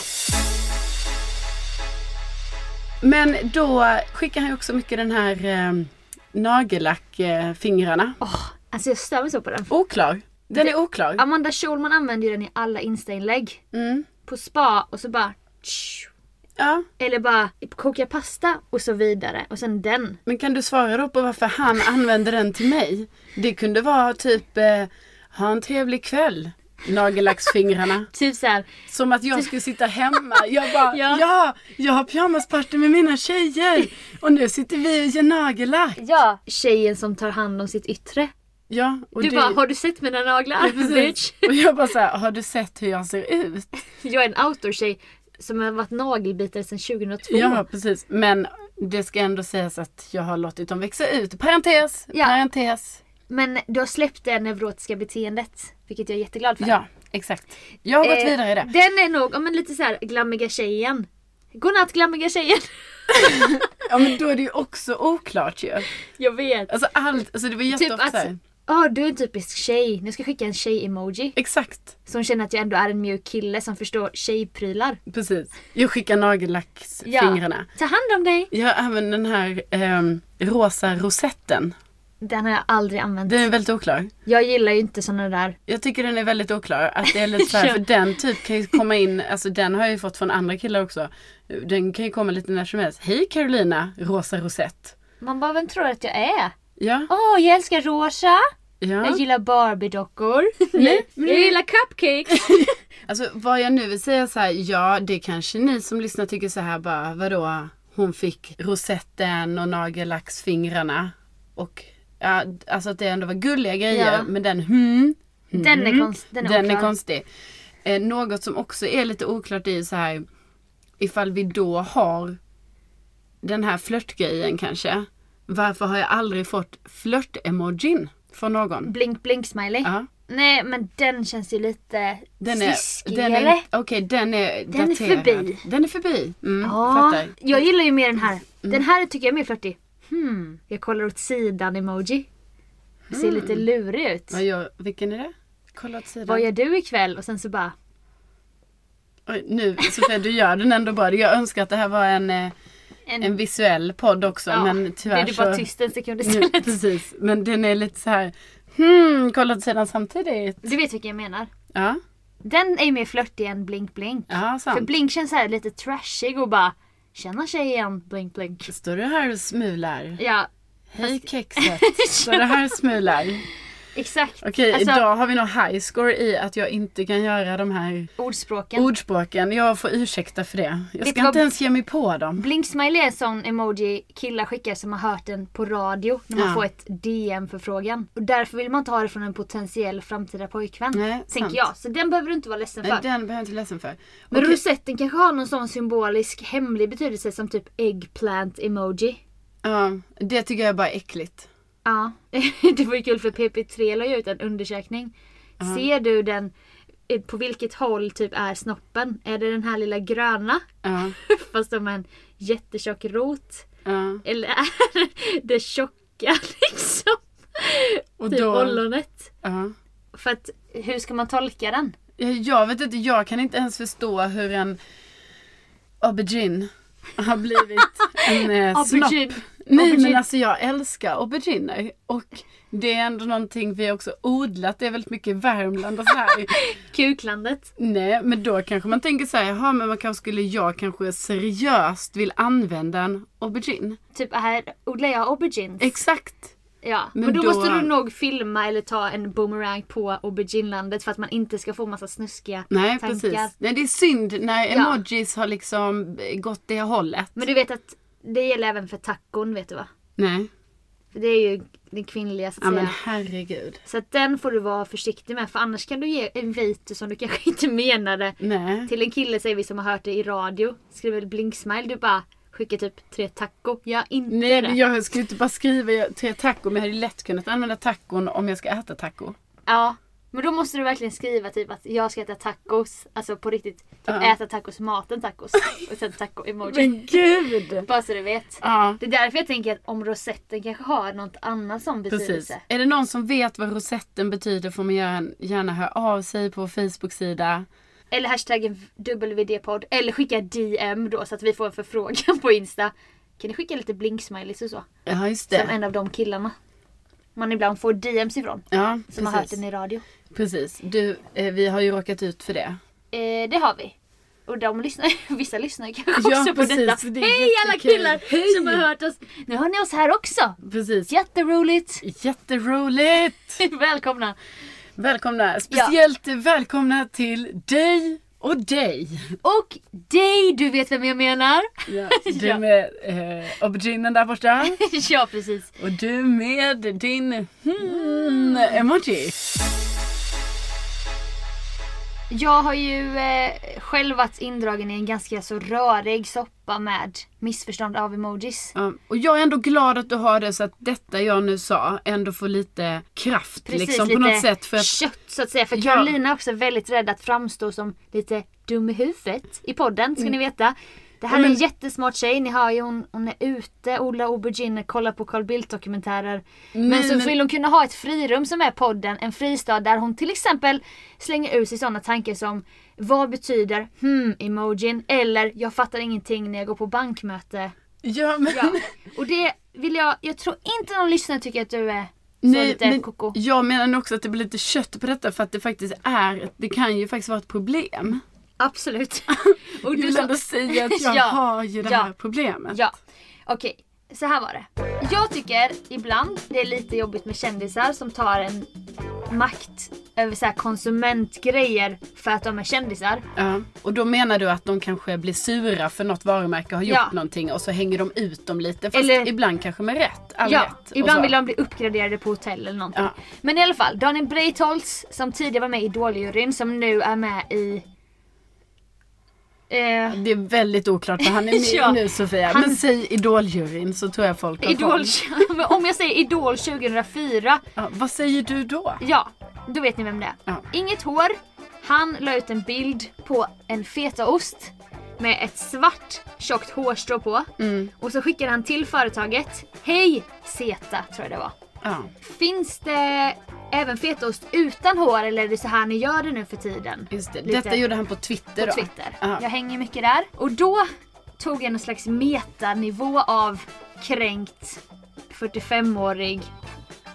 [SPEAKER 1] Men då skickar han ju också mycket den här eh, nagellackfingrarna. Eh, fingrarna.
[SPEAKER 2] Åh, alltså jag stör mig så på den.
[SPEAKER 1] oklar. Den är oklar.
[SPEAKER 2] Amanda Schulman använder ju den i alla instainlägg.
[SPEAKER 1] Mm.
[SPEAKER 2] På spa och så bara... tsch.
[SPEAKER 1] Ja.
[SPEAKER 2] Eller bara koka pasta och så vidare. Och sen den.
[SPEAKER 1] Men kan du svara då på varför han använde den till mig? Det kunde vara typ eh, ha en trevlig kväll. Nagellacksfingrarna.
[SPEAKER 2] Typ såhär.
[SPEAKER 1] Som att jag skulle sitta hemma. Jag bara, ja.
[SPEAKER 2] Ja.
[SPEAKER 1] jag har pyjamasparty med mina tjejer. Och nu sitter vi och gör nagellack.
[SPEAKER 2] Ja. Tjejen som tar hand om sitt yttre.
[SPEAKER 1] Ja, och
[SPEAKER 2] Du
[SPEAKER 1] det-
[SPEAKER 2] bara, har du sett mina naglar?
[SPEAKER 1] Ja, precis.
[SPEAKER 2] [LAUGHS] Bitch.
[SPEAKER 1] Och jag bara såhär, har du sett hur jag ser ut?
[SPEAKER 2] Jag är en outdoor-tjej som har varit nagelbitare sedan 2002.
[SPEAKER 1] Ja precis, men det ska ändå sägas att jag har låtit dem växa ut. Parentes,
[SPEAKER 2] Ja.
[SPEAKER 1] parentes.
[SPEAKER 2] Men du har släppt det neurotiska beteendet. Vilket jag är jätteglad för.
[SPEAKER 1] Ja, exakt. Jag har gått
[SPEAKER 2] Eh,
[SPEAKER 1] vidare i det.
[SPEAKER 2] Den är nog, ja, men lite så här glammiga tjejen. Godnatt glammiga tjejen. [LAUGHS]
[SPEAKER 1] Ja men då är det ju också oklart ju.
[SPEAKER 2] Jag vet.
[SPEAKER 1] Alltså allt, alltså det var
[SPEAKER 2] Typ
[SPEAKER 1] jätteofta
[SPEAKER 2] att,
[SPEAKER 1] så här.
[SPEAKER 2] ja du är en typisk tjej. Nu ska jag skicka en tjej-emoji.
[SPEAKER 1] Exakt,
[SPEAKER 2] Som känner att jag ändå är en mjuk kille som förstår tjejprylar.
[SPEAKER 1] precis. Jag skickar nagellacksfingrarna.
[SPEAKER 2] Ta hand om dig.
[SPEAKER 1] Jag har även den här ehm, rosa rosetten.
[SPEAKER 2] Den har jag aldrig använt.
[SPEAKER 1] Den är väldigt oklar.
[SPEAKER 2] Jag gillar ju inte såna där.
[SPEAKER 1] Jag tycker den är väldigt oklar. Att det är lite så här,
[SPEAKER 2] [LAUGHS] Ja.
[SPEAKER 1] för den typ kan ju komma in, alltså den har jag ju fått från andra killar också. Den kan ju komma lite när som helst. Hej Carolina, Rosa Rosett.
[SPEAKER 2] Man bara, vem tror du att jag är?
[SPEAKER 1] Ja,
[SPEAKER 2] Åh, jag älskar rosa.
[SPEAKER 1] ja.
[SPEAKER 2] Jag gillar Barbie-dockor. Nej, jag
[SPEAKER 1] [LAUGHS]
[SPEAKER 2] gillar cupcakes.
[SPEAKER 1] Alltså vad jag nu vill säga så här, ja det kanske ni som lyssnar tycker så här bara, vadå? Hon fick rosetten och nagellacksfingrarna. Och ja, alltså att det ändå var gulliga grejer.
[SPEAKER 2] Ja.
[SPEAKER 1] Men den hmm,
[SPEAKER 2] Den är konstig. Den är,
[SPEAKER 1] Den är
[SPEAKER 2] oklar.
[SPEAKER 1] konstig. Eh, något som också är lite oklart är ju så här ifall vi då har den här flörtgrejen kanske. Varför har jag aldrig fått flört-emojin från någon?
[SPEAKER 2] Blink blink smiley.
[SPEAKER 1] Ja,
[SPEAKER 2] Nej men den känns ju lite
[SPEAKER 1] den är, den
[SPEAKER 2] sliskigare.
[SPEAKER 1] är, okej den är
[SPEAKER 2] Den är
[SPEAKER 1] daterad.
[SPEAKER 2] förbi.
[SPEAKER 1] Den är förbi. Mm,
[SPEAKER 2] ja,
[SPEAKER 1] fattar. Mm.
[SPEAKER 2] jag gillar ju mer den här. Den här tycker jag är mer flörtig. Hmm, jag kollar åt sidan emoji. Ser
[SPEAKER 1] Hmm.
[SPEAKER 2] lite lurig ut.
[SPEAKER 1] Vad gör, vilken är det? Kolla åt sidan.
[SPEAKER 2] Vad gör du ikväll? Och sen så bara
[SPEAKER 1] Oj, nu Sofia, du gör den ändå bra. Jag önskar att det här var en, eh,
[SPEAKER 2] en,
[SPEAKER 1] en visuell podd också
[SPEAKER 2] ja,
[SPEAKER 1] men tyvärr
[SPEAKER 2] Blev du bara
[SPEAKER 1] så...
[SPEAKER 2] tyst en sekund
[SPEAKER 1] [LAUGHS] Nu,
[SPEAKER 2] istället?
[SPEAKER 1] precis, men den är lite så här. Hmm, kolla åt sidan samtidigt.
[SPEAKER 2] Du vet vilken jag menar.
[SPEAKER 1] Ja,
[SPEAKER 2] Den är ju mer flörtig än blink blink.
[SPEAKER 1] ja
[SPEAKER 2] För
[SPEAKER 1] sant.
[SPEAKER 2] blink känns så här lite trashig och bara Tjena tjejen, blink blink.
[SPEAKER 1] Står du här och smular?
[SPEAKER 2] Ja, [LAUGHS]
[SPEAKER 1] Hej kexet. Står du här och smular?
[SPEAKER 2] exakt.
[SPEAKER 1] Okej,
[SPEAKER 2] Alltså-
[SPEAKER 1] idag har vi nog high score i att jag inte kan göra de här
[SPEAKER 2] Ordspråken.
[SPEAKER 1] ordspråken. Jag får ursäkta för det. Jag
[SPEAKER 2] Vet
[SPEAKER 1] ska
[SPEAKER 2] du vad-
[SPEAKER 1] inte ens ge mig på dem.
[SPEAKER 2] Blinksmiley är en sån emoji killar skickar som har hört den på radio när man
[SPEAKER 1] Ja.
[SPEAKER 2] får ett DM-förfrågan. Och därför vill man ta det från en potentiell framtida pojkvän.
[SPEAKER 1] Nej,
[SPEAKER 2] tänker
[SPEAKER 1] sant.
[SPEAKER 2] jag. Så den behöver du inte vara ledsen
[SPEAKER 1] Nej, den
[SPEAKER 2] för.
[SPEAKER 1] behöver jag inte ledsen för.
[SPEAKER 2] Men
[SPEAKER 1] Okej,
[SPEAKER 2] rosetten kanske har någon sån symbolisk hemlig betydelse som typ eggplant-emoji.
[SPEAKER 1] ja, det tycker jag bara är äckligt.
[SPEAKER 2] Ja. [LAUGHS] det var ju kul för PP3 la ju ut en undersökning. Ser du den eh, på vilket håll typ är snoppen? Är det den här lilla gröna?
[SPEAKER 1] Ja,
[SPEAKER 2] Fast som en jättetjock rot?
[SPEAKER 1] ja.
[SPEAKER 2] Eller är [LAUGHS] det tjocka liksom?
[SPEAKER 1] Och
[SPEAKER 2] Typ
[SPEAKER 1] då...
[SPEAKER 2] ollonet.
[SPEAKER 1] Ja.
[SPEAKER 2] För att hur ska man tolka den?
[SPEAKER 1] Ja, Jag vet inte, jag kan inte ens förstå hur en aubergine har [LAUGHS] blivit en eh, snopp.
[SPEAKER 2] Aubergine.
[SPEAKER 1] Nej men
[SPEAKER 2] Aubergine.
[SPEAKER 1] alltså jag älskar auberginer och det är ändå någonting vi har också odlat, det är väldigt mycket i Värmland och så här.
[SPEAKER 2] Kuklandet.
[SPEAKER 1] Nej men då kanske man tänker så här, jaha men man kanske skulle jag kanske seriöst vill använda en aubergine.
[SPEAKER 2] Typ här odlar jag aubergines.
[SPEAKER 1] Exakt!
[SPEAKER 2] Ja, men,
[SPEAKER 1] Men
[SPEAKER 2] då,
[SPEAKER 1] då-
[SPEAKER 2] måste du nog filma eller ta en boomerang på auberginelandet för att man inte ska få massa snuskiga
[SPEAKER 1] Nej,
[SPEAKER 2] tankar.
[SPEAKER 1] precis. Nej, det är synd när emojis har liksom eh, gått det hållet.
[SPEAKER 2] Men du vet att det gäller även för tacon vet du va?
[SPEAKER 1] Nej,
[SPEAKER 2] För det är ju den kvinnliga så att
[SPEAKER 1] ja, men
[SPEAKER 2] säga.
[SPEAKER 1] herregud.
[SPEAKER 2] Så att den får du vara försiktig med för annars kan du ge en vit som du kanske inte menade.
[SPEAKER 1] Nej.
[SPEAKER 2] Till en kille säger vi som har hört det i radio. Skriver blingsmile. Du bara skickar typ tre taco. Gör inte
[SPEAKER 1] Nej,
[SPEAKER 2] det.
[SPEAKER 1] men jag skulle inte bara skriva jag- tre taco, men jag hade ju lätt kunnat använda tacon om jag ska äta taco.
[SPEAKER 2] Ja. Men då måste du verkligen skriva typ att jag ska äta tacos. Alltså på riktigt. Typ
[SPEAKER 1] Ja.
[SPEAKER 2] äta tacos,
[SPEAKER 1] [LAUGHS]
[SPEAKER 2] maten tacos. Och sen taco-emoji.
[SPEAKER 1] Men gud!
[SPEAKER 2] Bara så du vet.
[SPEAKER 1] Ja,
[SPEAKER 2] Det är därför jag tänker att om rosetten kanske har något annat som
[SPEAKER 1] precis.
[SPEAKER 2] betydelse.
[SPEAKER 1] Är det någon som vet vad rosetten betyder får man gärna- gärna höra av sig på vår Facebook-sida.
[SPEAKER 2] Eller hashtaggen WD-podd. Eller skicka DM då så att vi får en förfrågan på Insta. Kan ni skicka lite blinksmileys och så?
[SPEAKER 1] Ja, just
[SPEAKER 2] Som
[SPEAKER 1] det.
[SPEAKER 2] en av de killarna. Man ibland får DMs ifrån.
[SPEAKER 1] Ja,
[SPEAKER 2] Som har hört den
[SPEAKER 1] precis.
[SPEAKER 2] i radio.
[SPEAKER 1] precis. Du, eh, vi har ju råkat ut för det.
[SPEAKER 2] Eh, det har vi. Och de lyssnar, [LAUGHS] vissa lyssnar ju kanske
[SPEAKER 1] Ja,
[SPEAKER 2] också på
[SPEAKER 1] precis.
[SPEAKER 2] detta.
[SPEAKER 1] Det är
[SPEAKER 2] Hej alla
[SPEAKER 1] jättekul.
[SPEAKER 2] killar
[SPEAKER 1] Hej!
[SPEAKER 2] som har hört oss! Nu hör ni oss här också!
[SPEAKER 1] Precis.
[SPEAKER 2] Jätteroligt! [LAUGHS]
[SPEAKER 1] Jätteroligt!
[SPEAKER 2] Välkomna!
[SPEAKER 1] Välkomna! Speciellt välkomna till dig och dig.
[SPEAKER 2] Och dig, du vet vem jag menar! [LAUGHS]
[SPEAKER 1] [LAUGHS] Du
[SPEAKER 2] Ja.
[SPEAKER 1] med eh, auberginen där borta.
[SPEAKER 2] ja precis.
[SPEAKER 1] Och du med din hmm, emoji.
[SPEAKER 2] Jag har ju eh, själv varit indragen i en ganska så rörig soppa med missförstånd av emojis.
[SPEAKER 1] Ja, och jag är ändå glad att du har det så att detta jag nu sa ändå får lite kraft
[SPEAKER 2] Precis,
[SPEAKER 1] liksom
[SPEAKER 2] lite
[SPEAKER 1] på något sätt. För att,
[SPEAKER 2] kött så att säga. För
[SPEAKER 1] Ja.
[SPEAKER 2] Carolina är också väldigt rädd att framstå som lite dum i huvudet i podden ska ni veta. Det här
[SPEAKER 1] Mm. Ja,
[SPEAKER 2] är
[SPEAKER 1] men-
[SPEAKER 2] en jättesmart tjej, ni hör ju hon, hon är ute, odlar aubergine, kollar på Carl Bildt dokumentärer. men
[SPEAKER 1] Nej,
[SPEAKER 2] så
[SPEAKER 1] Mm, men-
[SPEAKER 2] vill hon kunna ha ett frirum som är podden, en fristad där hon till exempel slänger ut sig sådana tankar som Vad betyder hmm emojin? Eller jag fattar ingenting när jag går på bankmöte.
[SPEAKER 1] ja, men,
[SPEAKER 2] Ja. [LAUGHS] Och det vill jag, jag tror inte någon lyssnare tycker att du är så
[SPEAKER 1] [LAUGHS] nej,
[SPEAKER 2] lite
[SPEAKER 1] men
[SPEAKER 2] koko.
[SPEAKER 1] jag menar nog också att det blir lite kött på detta för att det faktiskt är, det kan ju faktiskt vara ett problem.
[SPEAKER 2] Absolut. [LAUGHS] Och
[SPEAKER 1] Jag vill ändå säga att jag
[SPEAKER 2] [LAUGHS] Ja.
[SPEAKER 1] har ju det
[SPEAKER 2] Ja.
[SPEAKER 1] här problemet.
[SPEAKER 2] Ja, okej. Så här var det. Jag tycker ibland det är lite jobbigt med kändisar som tar en makt över så här konsumentgrejer för att de är kändisar.
[SPEAKER 1] Ja, och då menar du att de kanske blir sura för något varumärke har gjort
[SPEAKER 2] Ja.
[SPEAKER 1] någonting och så hänger de ut dem lite. Fast
[SPEAKER 2] Eller-
[SPEAKER 1] ibland kanske med rätt. All
[SPEAKER 2] ja,
[SPEAKER 1] rätt och
[SPEAKER 2] ibland
[SPEAKER 1] så.
[SPEAKER 2] vill de bli uppgraderade på hotell eller någonting.
[SPEAKER 1] Ja.
[SPEAKER 2] Men i alla fall, Daniel Breitholtz som tidigare var med i Idoljuryn som nu är med i... Eh,
[SPEAKER 1] Det är väldigt oklart vad
[SPEAKER 2] [LAUGHS]
[SPEAKER 1] han är med i
[SPEAKER 2] Ja.
[SPEAKER 1] nu Sofia.
[SPEAKER 2] Han-
[SPEAKER 1] Men säg idoljuryn så tror jag folk har
[SPEAKER 2] Idol, [LAUGHS]
[SPEAKER 1] koll.
[SPEAKER 2] Men om jag säger Idol 2004
[SPEAKER 1] ja, Vad säger du då?
[SPEAKER 2] Ja, då vet ni vem det är.
[SPEAKER 1] Ja.
[SPEAKER 2] Inget hår. Han la ut en bild på en fetaost med ett svart tjockt hårstrå på.
[SPEAKER 1] Mm.
[SPEAKER 2] Och så skickade han till företaget. Hej Zeta tror jag det var.
[SPEAKER 1] Ja.
[SPEAKER 2] Finns det även fetaost utan hår eller är det så här ni gör det nu för tiden?
[SPEAKER 1] Just det.
[SPEAKER 2] Lite
[SPEAKER 1] Detta gjorde han på Twitter
[SPEAKER 2] på
[SPEAKER 1] då.
[SPEAKER 2] Twitter.
[SPEAKER 1] Ja.
[SPEAKER 2] Jag hänger mycket där. Och då tog jag någon slags metanivå av kränkt 45-årig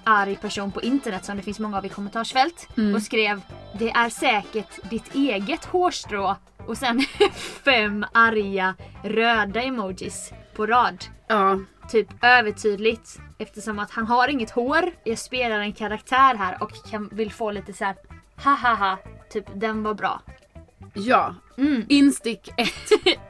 [SPEAKER 2] arg person på internet som det finns många av i kommentarsfält
[SPEAKER 1] Mm.
[SPEAKER 2] och skrev Det är säkert ditt eget hårstrå och sen [LAUGHS] fem arga röda emojis på rad
[SPEAKER 1] Ja.
[SPEAKER 2] typ övertydligt eftersom att han har inget hår. Jag spelar en karaktär här och kan, vill få lite så här ha ha ha, typ den var bra.
[SPEAKER 1] ja.
[SPEAKER 2] Mm.
[SPEAKER 1] Instick 1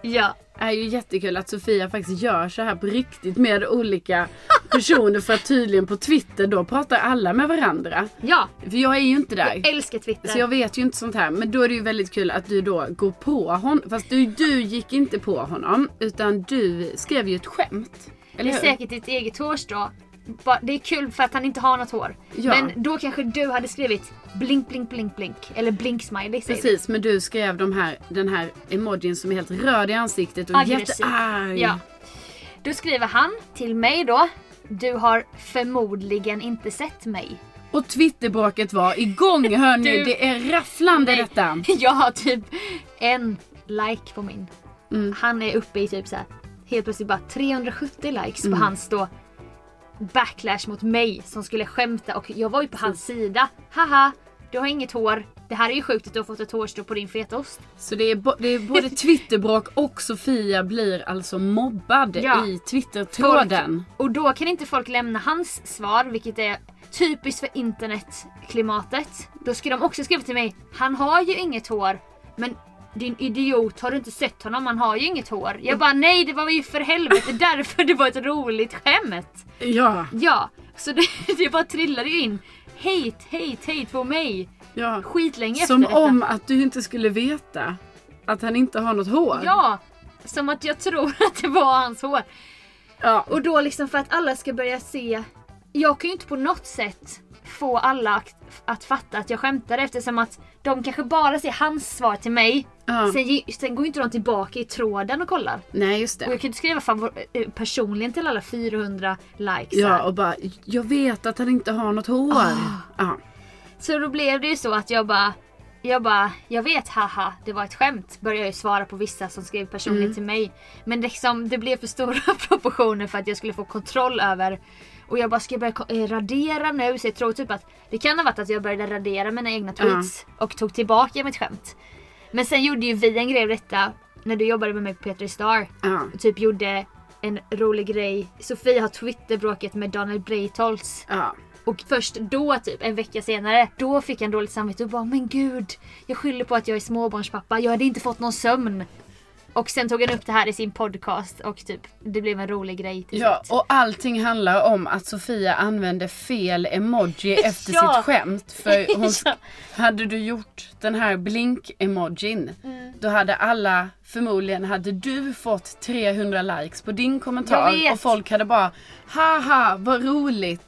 [SPEAKER 2] Ja,
[SPEAKER 1] är ju jättekul att Sofia faktiskt gör så här på riktigt med olika personer för att tydligen på Twitter då pratar alla med varandra.
[SPEAKER 2] ja.
[SPEAKER 1] För jag är ju inte där.
[SPEAKER 2] Jag älskar Twitter.
[SPEAKER 1] Så jag vet ju inte sånt här. Men då är det ju väldigt kul att du då går på honom. Fast du, du gick inte på honom. Utan du skrev ju ett skämt.
[SPEAKER 2] det
[SPEAKER 1] Eller
[SPEAKER 2] är
[SPEAKER 1] hur?
[SPEAKER 2] säkert ditt eget hårstrå. Ba- Det är kul för att han inte har något hår.
[SPEAKER 1] Ja.
[SPEAKER 2] Men då kanske du hade skrivit blink blink blink blink. Eller blink smiley säger vi.
[SPEAKER 1] Precis, men du skrev de här, den här emojin som är helt röd i ansiktet och
[SPEAKER 2] Aggressiv.
[SPEAKER 1] jättearg.
[SPEAKER 2] Ja. Då skriver han till mig då. Du har förmodligen inte sett mig.
[SPEAKER 1] Och twitterbråket var igång hör ni.
[SPEAKER 2] Du-
[SPEAKER 1] Det är rafflande
[SPEAKER 2] Nej.
[SPEAKER 1] detta.
[SPEAKER 2] [LAUGHS] Jag har typ en like på min. Han är uppe i typ så här, helt plötsligt bara 370 likes på hans då backlash mot mig som skulle skämta och jag var ju på hans sida. Haha, du har inget hår. Det här är ju sjukt att du har fått ett hårstrå på din fetaost.
[SPEAKER 1] Så det är, bo- det är [LAUGHS] både Twitterbråk och Sofia blir alltså mobbad
[SPEAKER 2] Ja.
[SPEAKER 1] i Twittertråden.
[SPEAKER 2] Och då kan inte folk lämna hans svar, vilket är typiskt för internetklimatet. Då skulle de också skriva till mig, han har ju inget hår, men din idiot, har du inte sett honom? Han har ju inget hår. Jag bara, nej det var ju för helvete därför det var ett roligt skämt.
[SPEAKER 1] Ja,
[SPEAKER 2] Ja, så det, [LAUGHS] det bara trillade ju in hate, hate, hate på mig.
[SPEAKER 1] ja.
[SPEAKER 2] Skitlänge
[SPEAKER 1] Som
[SPEAKER 2] efter detta.
[SPEAKER 1] om att du inte skulle veta att han inte har något hår.
[SPEAKER 2] Ja, som att jag tror att det var hans hår.
[SPEAKER 1] Ja.
[SPEAKER 2] Och då liksom för att alla ska börja se. Jag kan ju inte på något sätt få alla att, att fatta att jag skämtar eftersom att de kanske bara ser hans svar till mig.
[SPEAKER 1] Ja.
[SPEAKER 2] Sen, ge- sen går ju inte de tillbaka i tråden och kollar.
[SPEAKER 1] Nej just det.
[SPEAKER 2] Och jag kan ju inte skriva favor- eh, personligen till alla 400 likes.
[SPEAKER 1] Ja
[SPEAKER 2] här.
[SPEAKER 1] och bara, jag vet att han inte har något hår. Ja.
[SPEAKER 2] Så då blev det ju så att jag bara jag bara, jag vet haha, det var ett skämt. Började jag ju svara på vissa som skrev personligen till mig. Men det liksom, det blev för stora [LAUGHS] proportioner för att jag skulle få kontroll över. Och jag bara, ska jag börja ko- eh, radera nu? Så jag tror typ att det kan ha varit att jag började radera mina egna tweets och tog tillbaka mitt skämt. Men sen gjorde ju vi en grej av detta när du jobbade med mig på Petri Star.
[SPEAKER 1] Ja.
[SPEAKER 2] Typ gjorde en rolig grej. Sofie har twitterbråket med Daniel Breitholtz.
[SPEAKER 1] Ja.
[SPEAKER 2] Och först då, typ en vecka senare, då fick han dåligt samvete och bara “men gud, jag skyller på att jag är småbarnspappa, jag hade inte fått någon sömn”. Och sen tog han upp det här i sin podcast och typ, det blev en rolig grej till
[SPEAKER 1] Ja,
[SPEAKER 2] slut.
[SPEAKER 1] och allting handlar om att Sofia använde fel [LAUGHS] emoji efter
[SPEAKER 2] Ja.
[SPEAKER 1] sitt skämt. För
[SPEAKER 2] [LAUGHS]
[SPEAKER 1] [LAUGHS] hon,
[SPEAKER 2] Ja.
[SPEAKER 1] hade du gjort den här blink-emojin,
[SPEAKER 2] Mm.
[SPEAKER 1] då hade alla, förmodligen hade du fått 300 likes på din
[SPEAKER 2] Jag
[SPEAKER 1] kommentar.
[SPEAKER 2] vet.
[SPEAKER 1] Och folk hade bara, haha vad roligt.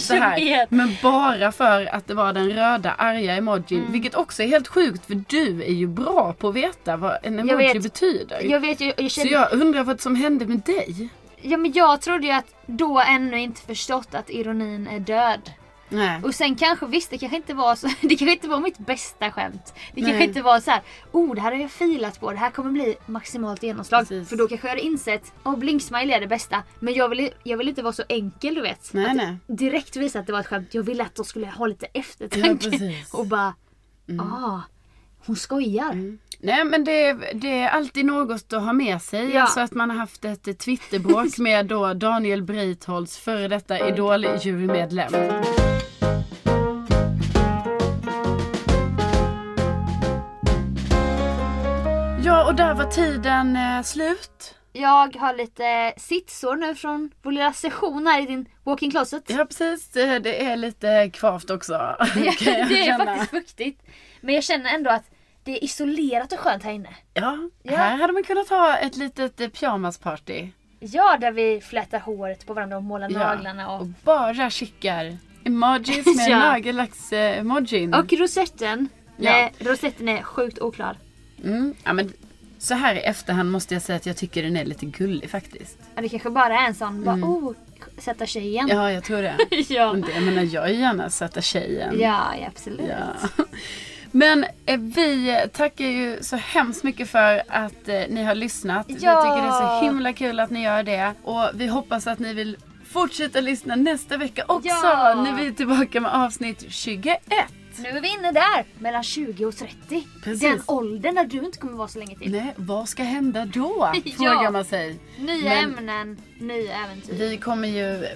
[SPEAKER 1] Så
[SPEAKER 2] Jag
[SPEAKER 1] här.
[SPEAKER 2] vet.
[SPEAKER 1] Men bara för att det var den röda arga emojin.
[SPEAKER 2] Mm.
[SPEAKER 1] Vilket också är helt sjukt för du är ju bra på att veta vad en emoji
[SPEAKER 2] vet.
[SPEAKER 1] betyder.
[SPEAKER 2] [LAUGHS] Jag vet ju, jag
[SPEAKER 1] Så
[SPEAKER 2] kände,
[SPEAKER 1] jag undrar vad som hände med dig?
[SPEAKER 2] ja men jag trodde ju att då ännu inte förstått att ironin är död.
[SPEAKER 1] Nej.
[SPEAKER 2] Och sen kanske, visst det kanske inte var så, [LAUGHS] det kanske inte var mitt bästa skämt. Det kanske
[SPEAKER 1] Nej.
[SPEAKER 2] inte var så här, oh det här har jag filat på, det här kommer bli maximalt genomslag.
[SPEAKER 1] Precis.
[SPEAKER 2] För då kanske jag hade insett, oh blinksmiley är det bästa. Men jag ville jag vill inte vara så enkel du vet.
[SPEAKER 1] Nej,
[SPEAKER 2] att
[SPEAKER 1] nej.
[SPEAKER 2] Direkt visa att det var ett skämt, jag ville att de skulle ha lite
[SPEAKER 1] Ja,
[SPEAKER 2] eftertanke.
[SPEAKER 1] precis.
[SPEAKER 2] [LAUGHS]
[SPEAKER 1] Mm.
[SPEAKER 2] och bara, ah, hon skojar.
[SPEAKER 1] Nej men det, det är alltid något att ha med sig.
[SPEAKER 2] Ja.
[SPEAKER 1] Alltså att man har haft ett eh,
[SPEAKER 2] [LAUGHS]
[SPEAKER 1] twitterbråk med då Daniel Breitholtz, före detta Idol-jurymedlem. Ja och där var tiden eh, slut.
[SPEAKER 2] Jag har lite sitsår nu från vår lilla session här i din walking closet.
[SPEAKER 1] Ja precis, det, Eh, det är lite kvavt också. [LAUGHS] kan jag
[SPEAKER 2] [LAUGHS] det är
[SPEAKER 1] känna.
[SPEAKER 2] faktiskt fuktigt. Men jag känner ändå att det är isolerat och skönt här inne.
[SPEAKER 1] Ja,
[SPEAKER 2] Ja.
[SPEAKER 1] här hade man kunnat ha ett litet eh, pyjamasparty.
[SPEAKER 2] Ja, där vi flätar håret på varandra och målar naglarna
[SPEAKER 1] och
[SPEAKER 2] och...
[SPEAKER 1] bara skickar
[SPEAKER 2] [LAUGHS]
[SPEAKER 1] emojis med
[SPEAKER 2] Ja.
[SPEAKER 1] nagellack-emojin.
[SPEAKER 2] Och rosetten.
[SPEAKER 1] Ja.
[SPEAKER 2] Nej, rosetten är sjukt oklar.
[SPEAKER 1] Mm, ja, men så här i efterhand måste jag säga att jag tycker den är lite gullig faktiskt.
[SPEAKER 2] Ja, Det kanske bara är en sån, bara oh, sätta tjejen.
[SPEAKER 1] Mm. Ja, Mm. jag tror det.
[SPEAKER 2] [LAUGHS] ja.
[SPEAKER 1] Men det- Jag menar, jag är gärna sätta tjejen.
[SPEAKER 2] ja, ja, absolut.
[SPEAKER 1] Ja. [LAUGHS] Men eh, vi tackar ju så hemskt mycket för att eh, ni har lyssnat. Vi
[SPEAKER 2] Ja.
[SPEAKER 1] tycker det är så himla kul att ni gör det. Och vi hoppas att ni vill fortsätta lyssna nästa vecka också.
[SPEAKER 2] Ja.
[SPEAKER 1] När vi är tillbaka med avsnitt 21.
[SPEAKER 2] Nu är vi inne där, mellan 20 och 30.
[SPEAKER 1] Precis.
[SPEAKER 2] Den åldern när du inte kommer vara så länge till.
[SPEAKER 1] Nej, vad ska hända
[SPEAKER 2] [LAUGHS]
[SPEAKER 1] då?
[SPEAKER 2] Ja.
[SPEAKER 1] Frågar man sig.
[SPEAKER 2] Nya
[SPEAKER 1] Men-
[SPEAKER 2] ämnen, nya äventyr.
[SPEAKER 1] Vi kommer ju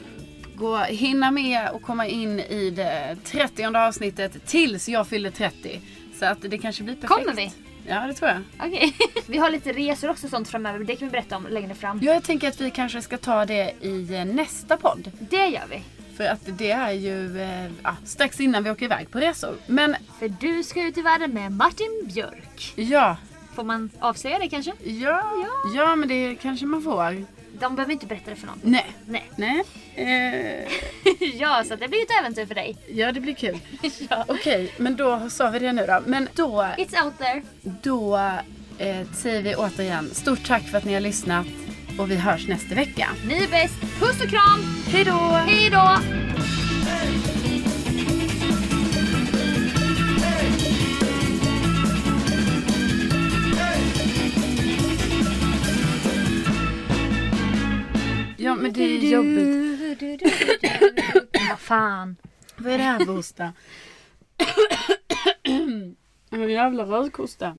[SPEAKER 1] gå, hinna med och komma in i det 30 avsnittet tills jag fyller 30. Så att det kanske blir perfekt.
[SPEAKER 2] Kommer vi?
[SPEAKER 1] Ja, det tror jag.
[SPEAKER 2] Okej. Mm. [LAUGHS] vi har lite resor också och sånt framöver, det kan vi berätta om längre fram.
[SPEAKER 1] Ja, jag tänker att vi kanske ska ta det i eh, nästa podd.
[SPEAKER 2] Det gör vi.
[SPEAKER 1] För att det är ju eh, ja, strax innan vi åker iväg på resor. Men
[SPEAKER 2] För du ska ut i världen med Martin Björk.
[SPEAKER 1] ja,
[SPEAKER 2] Får man avslöja det kanske?
[SPEAKER 1] ja, ja, men det kanske man får.
[SPEAKER 2] De behöver inte berätta det för någon.
[SPEAKER 1] Nej.
[SPEAKER 2] Nej.
[SPEAKER 1] Nej. Eh,
[SPEAKER 2] [LAUGHS] ja, så det blir ju ett äventyr
[SPEAKER 1] [LAUGHS]
[SPEAKER 2] för dig.
[SPEAKER 1] ja, det blir kul.
[SPEAKER 2] ja.
[SPEAKER 1] Okej, men då sa vi det nu då. Men då
[SPEAKER 2] It's out there.
[SPEAKER 1] Då eh, säger vi återigen stort tack för att ni har lyssnat och vi hörs nästa vecka.
[SPEAKER 2] Ni är bäst. Puss och kram.
[SPEAKER 1] Hej då!
[SPEAKER 2] Hej då!
[SPEAKER 1] Ja men det är ju jobbigt.
[SPEAKER 2] [LAUGHS] Vad fan.
[SPEAKER 1] [COUGHS] Vad är det här för hosta? jävla rödkosta.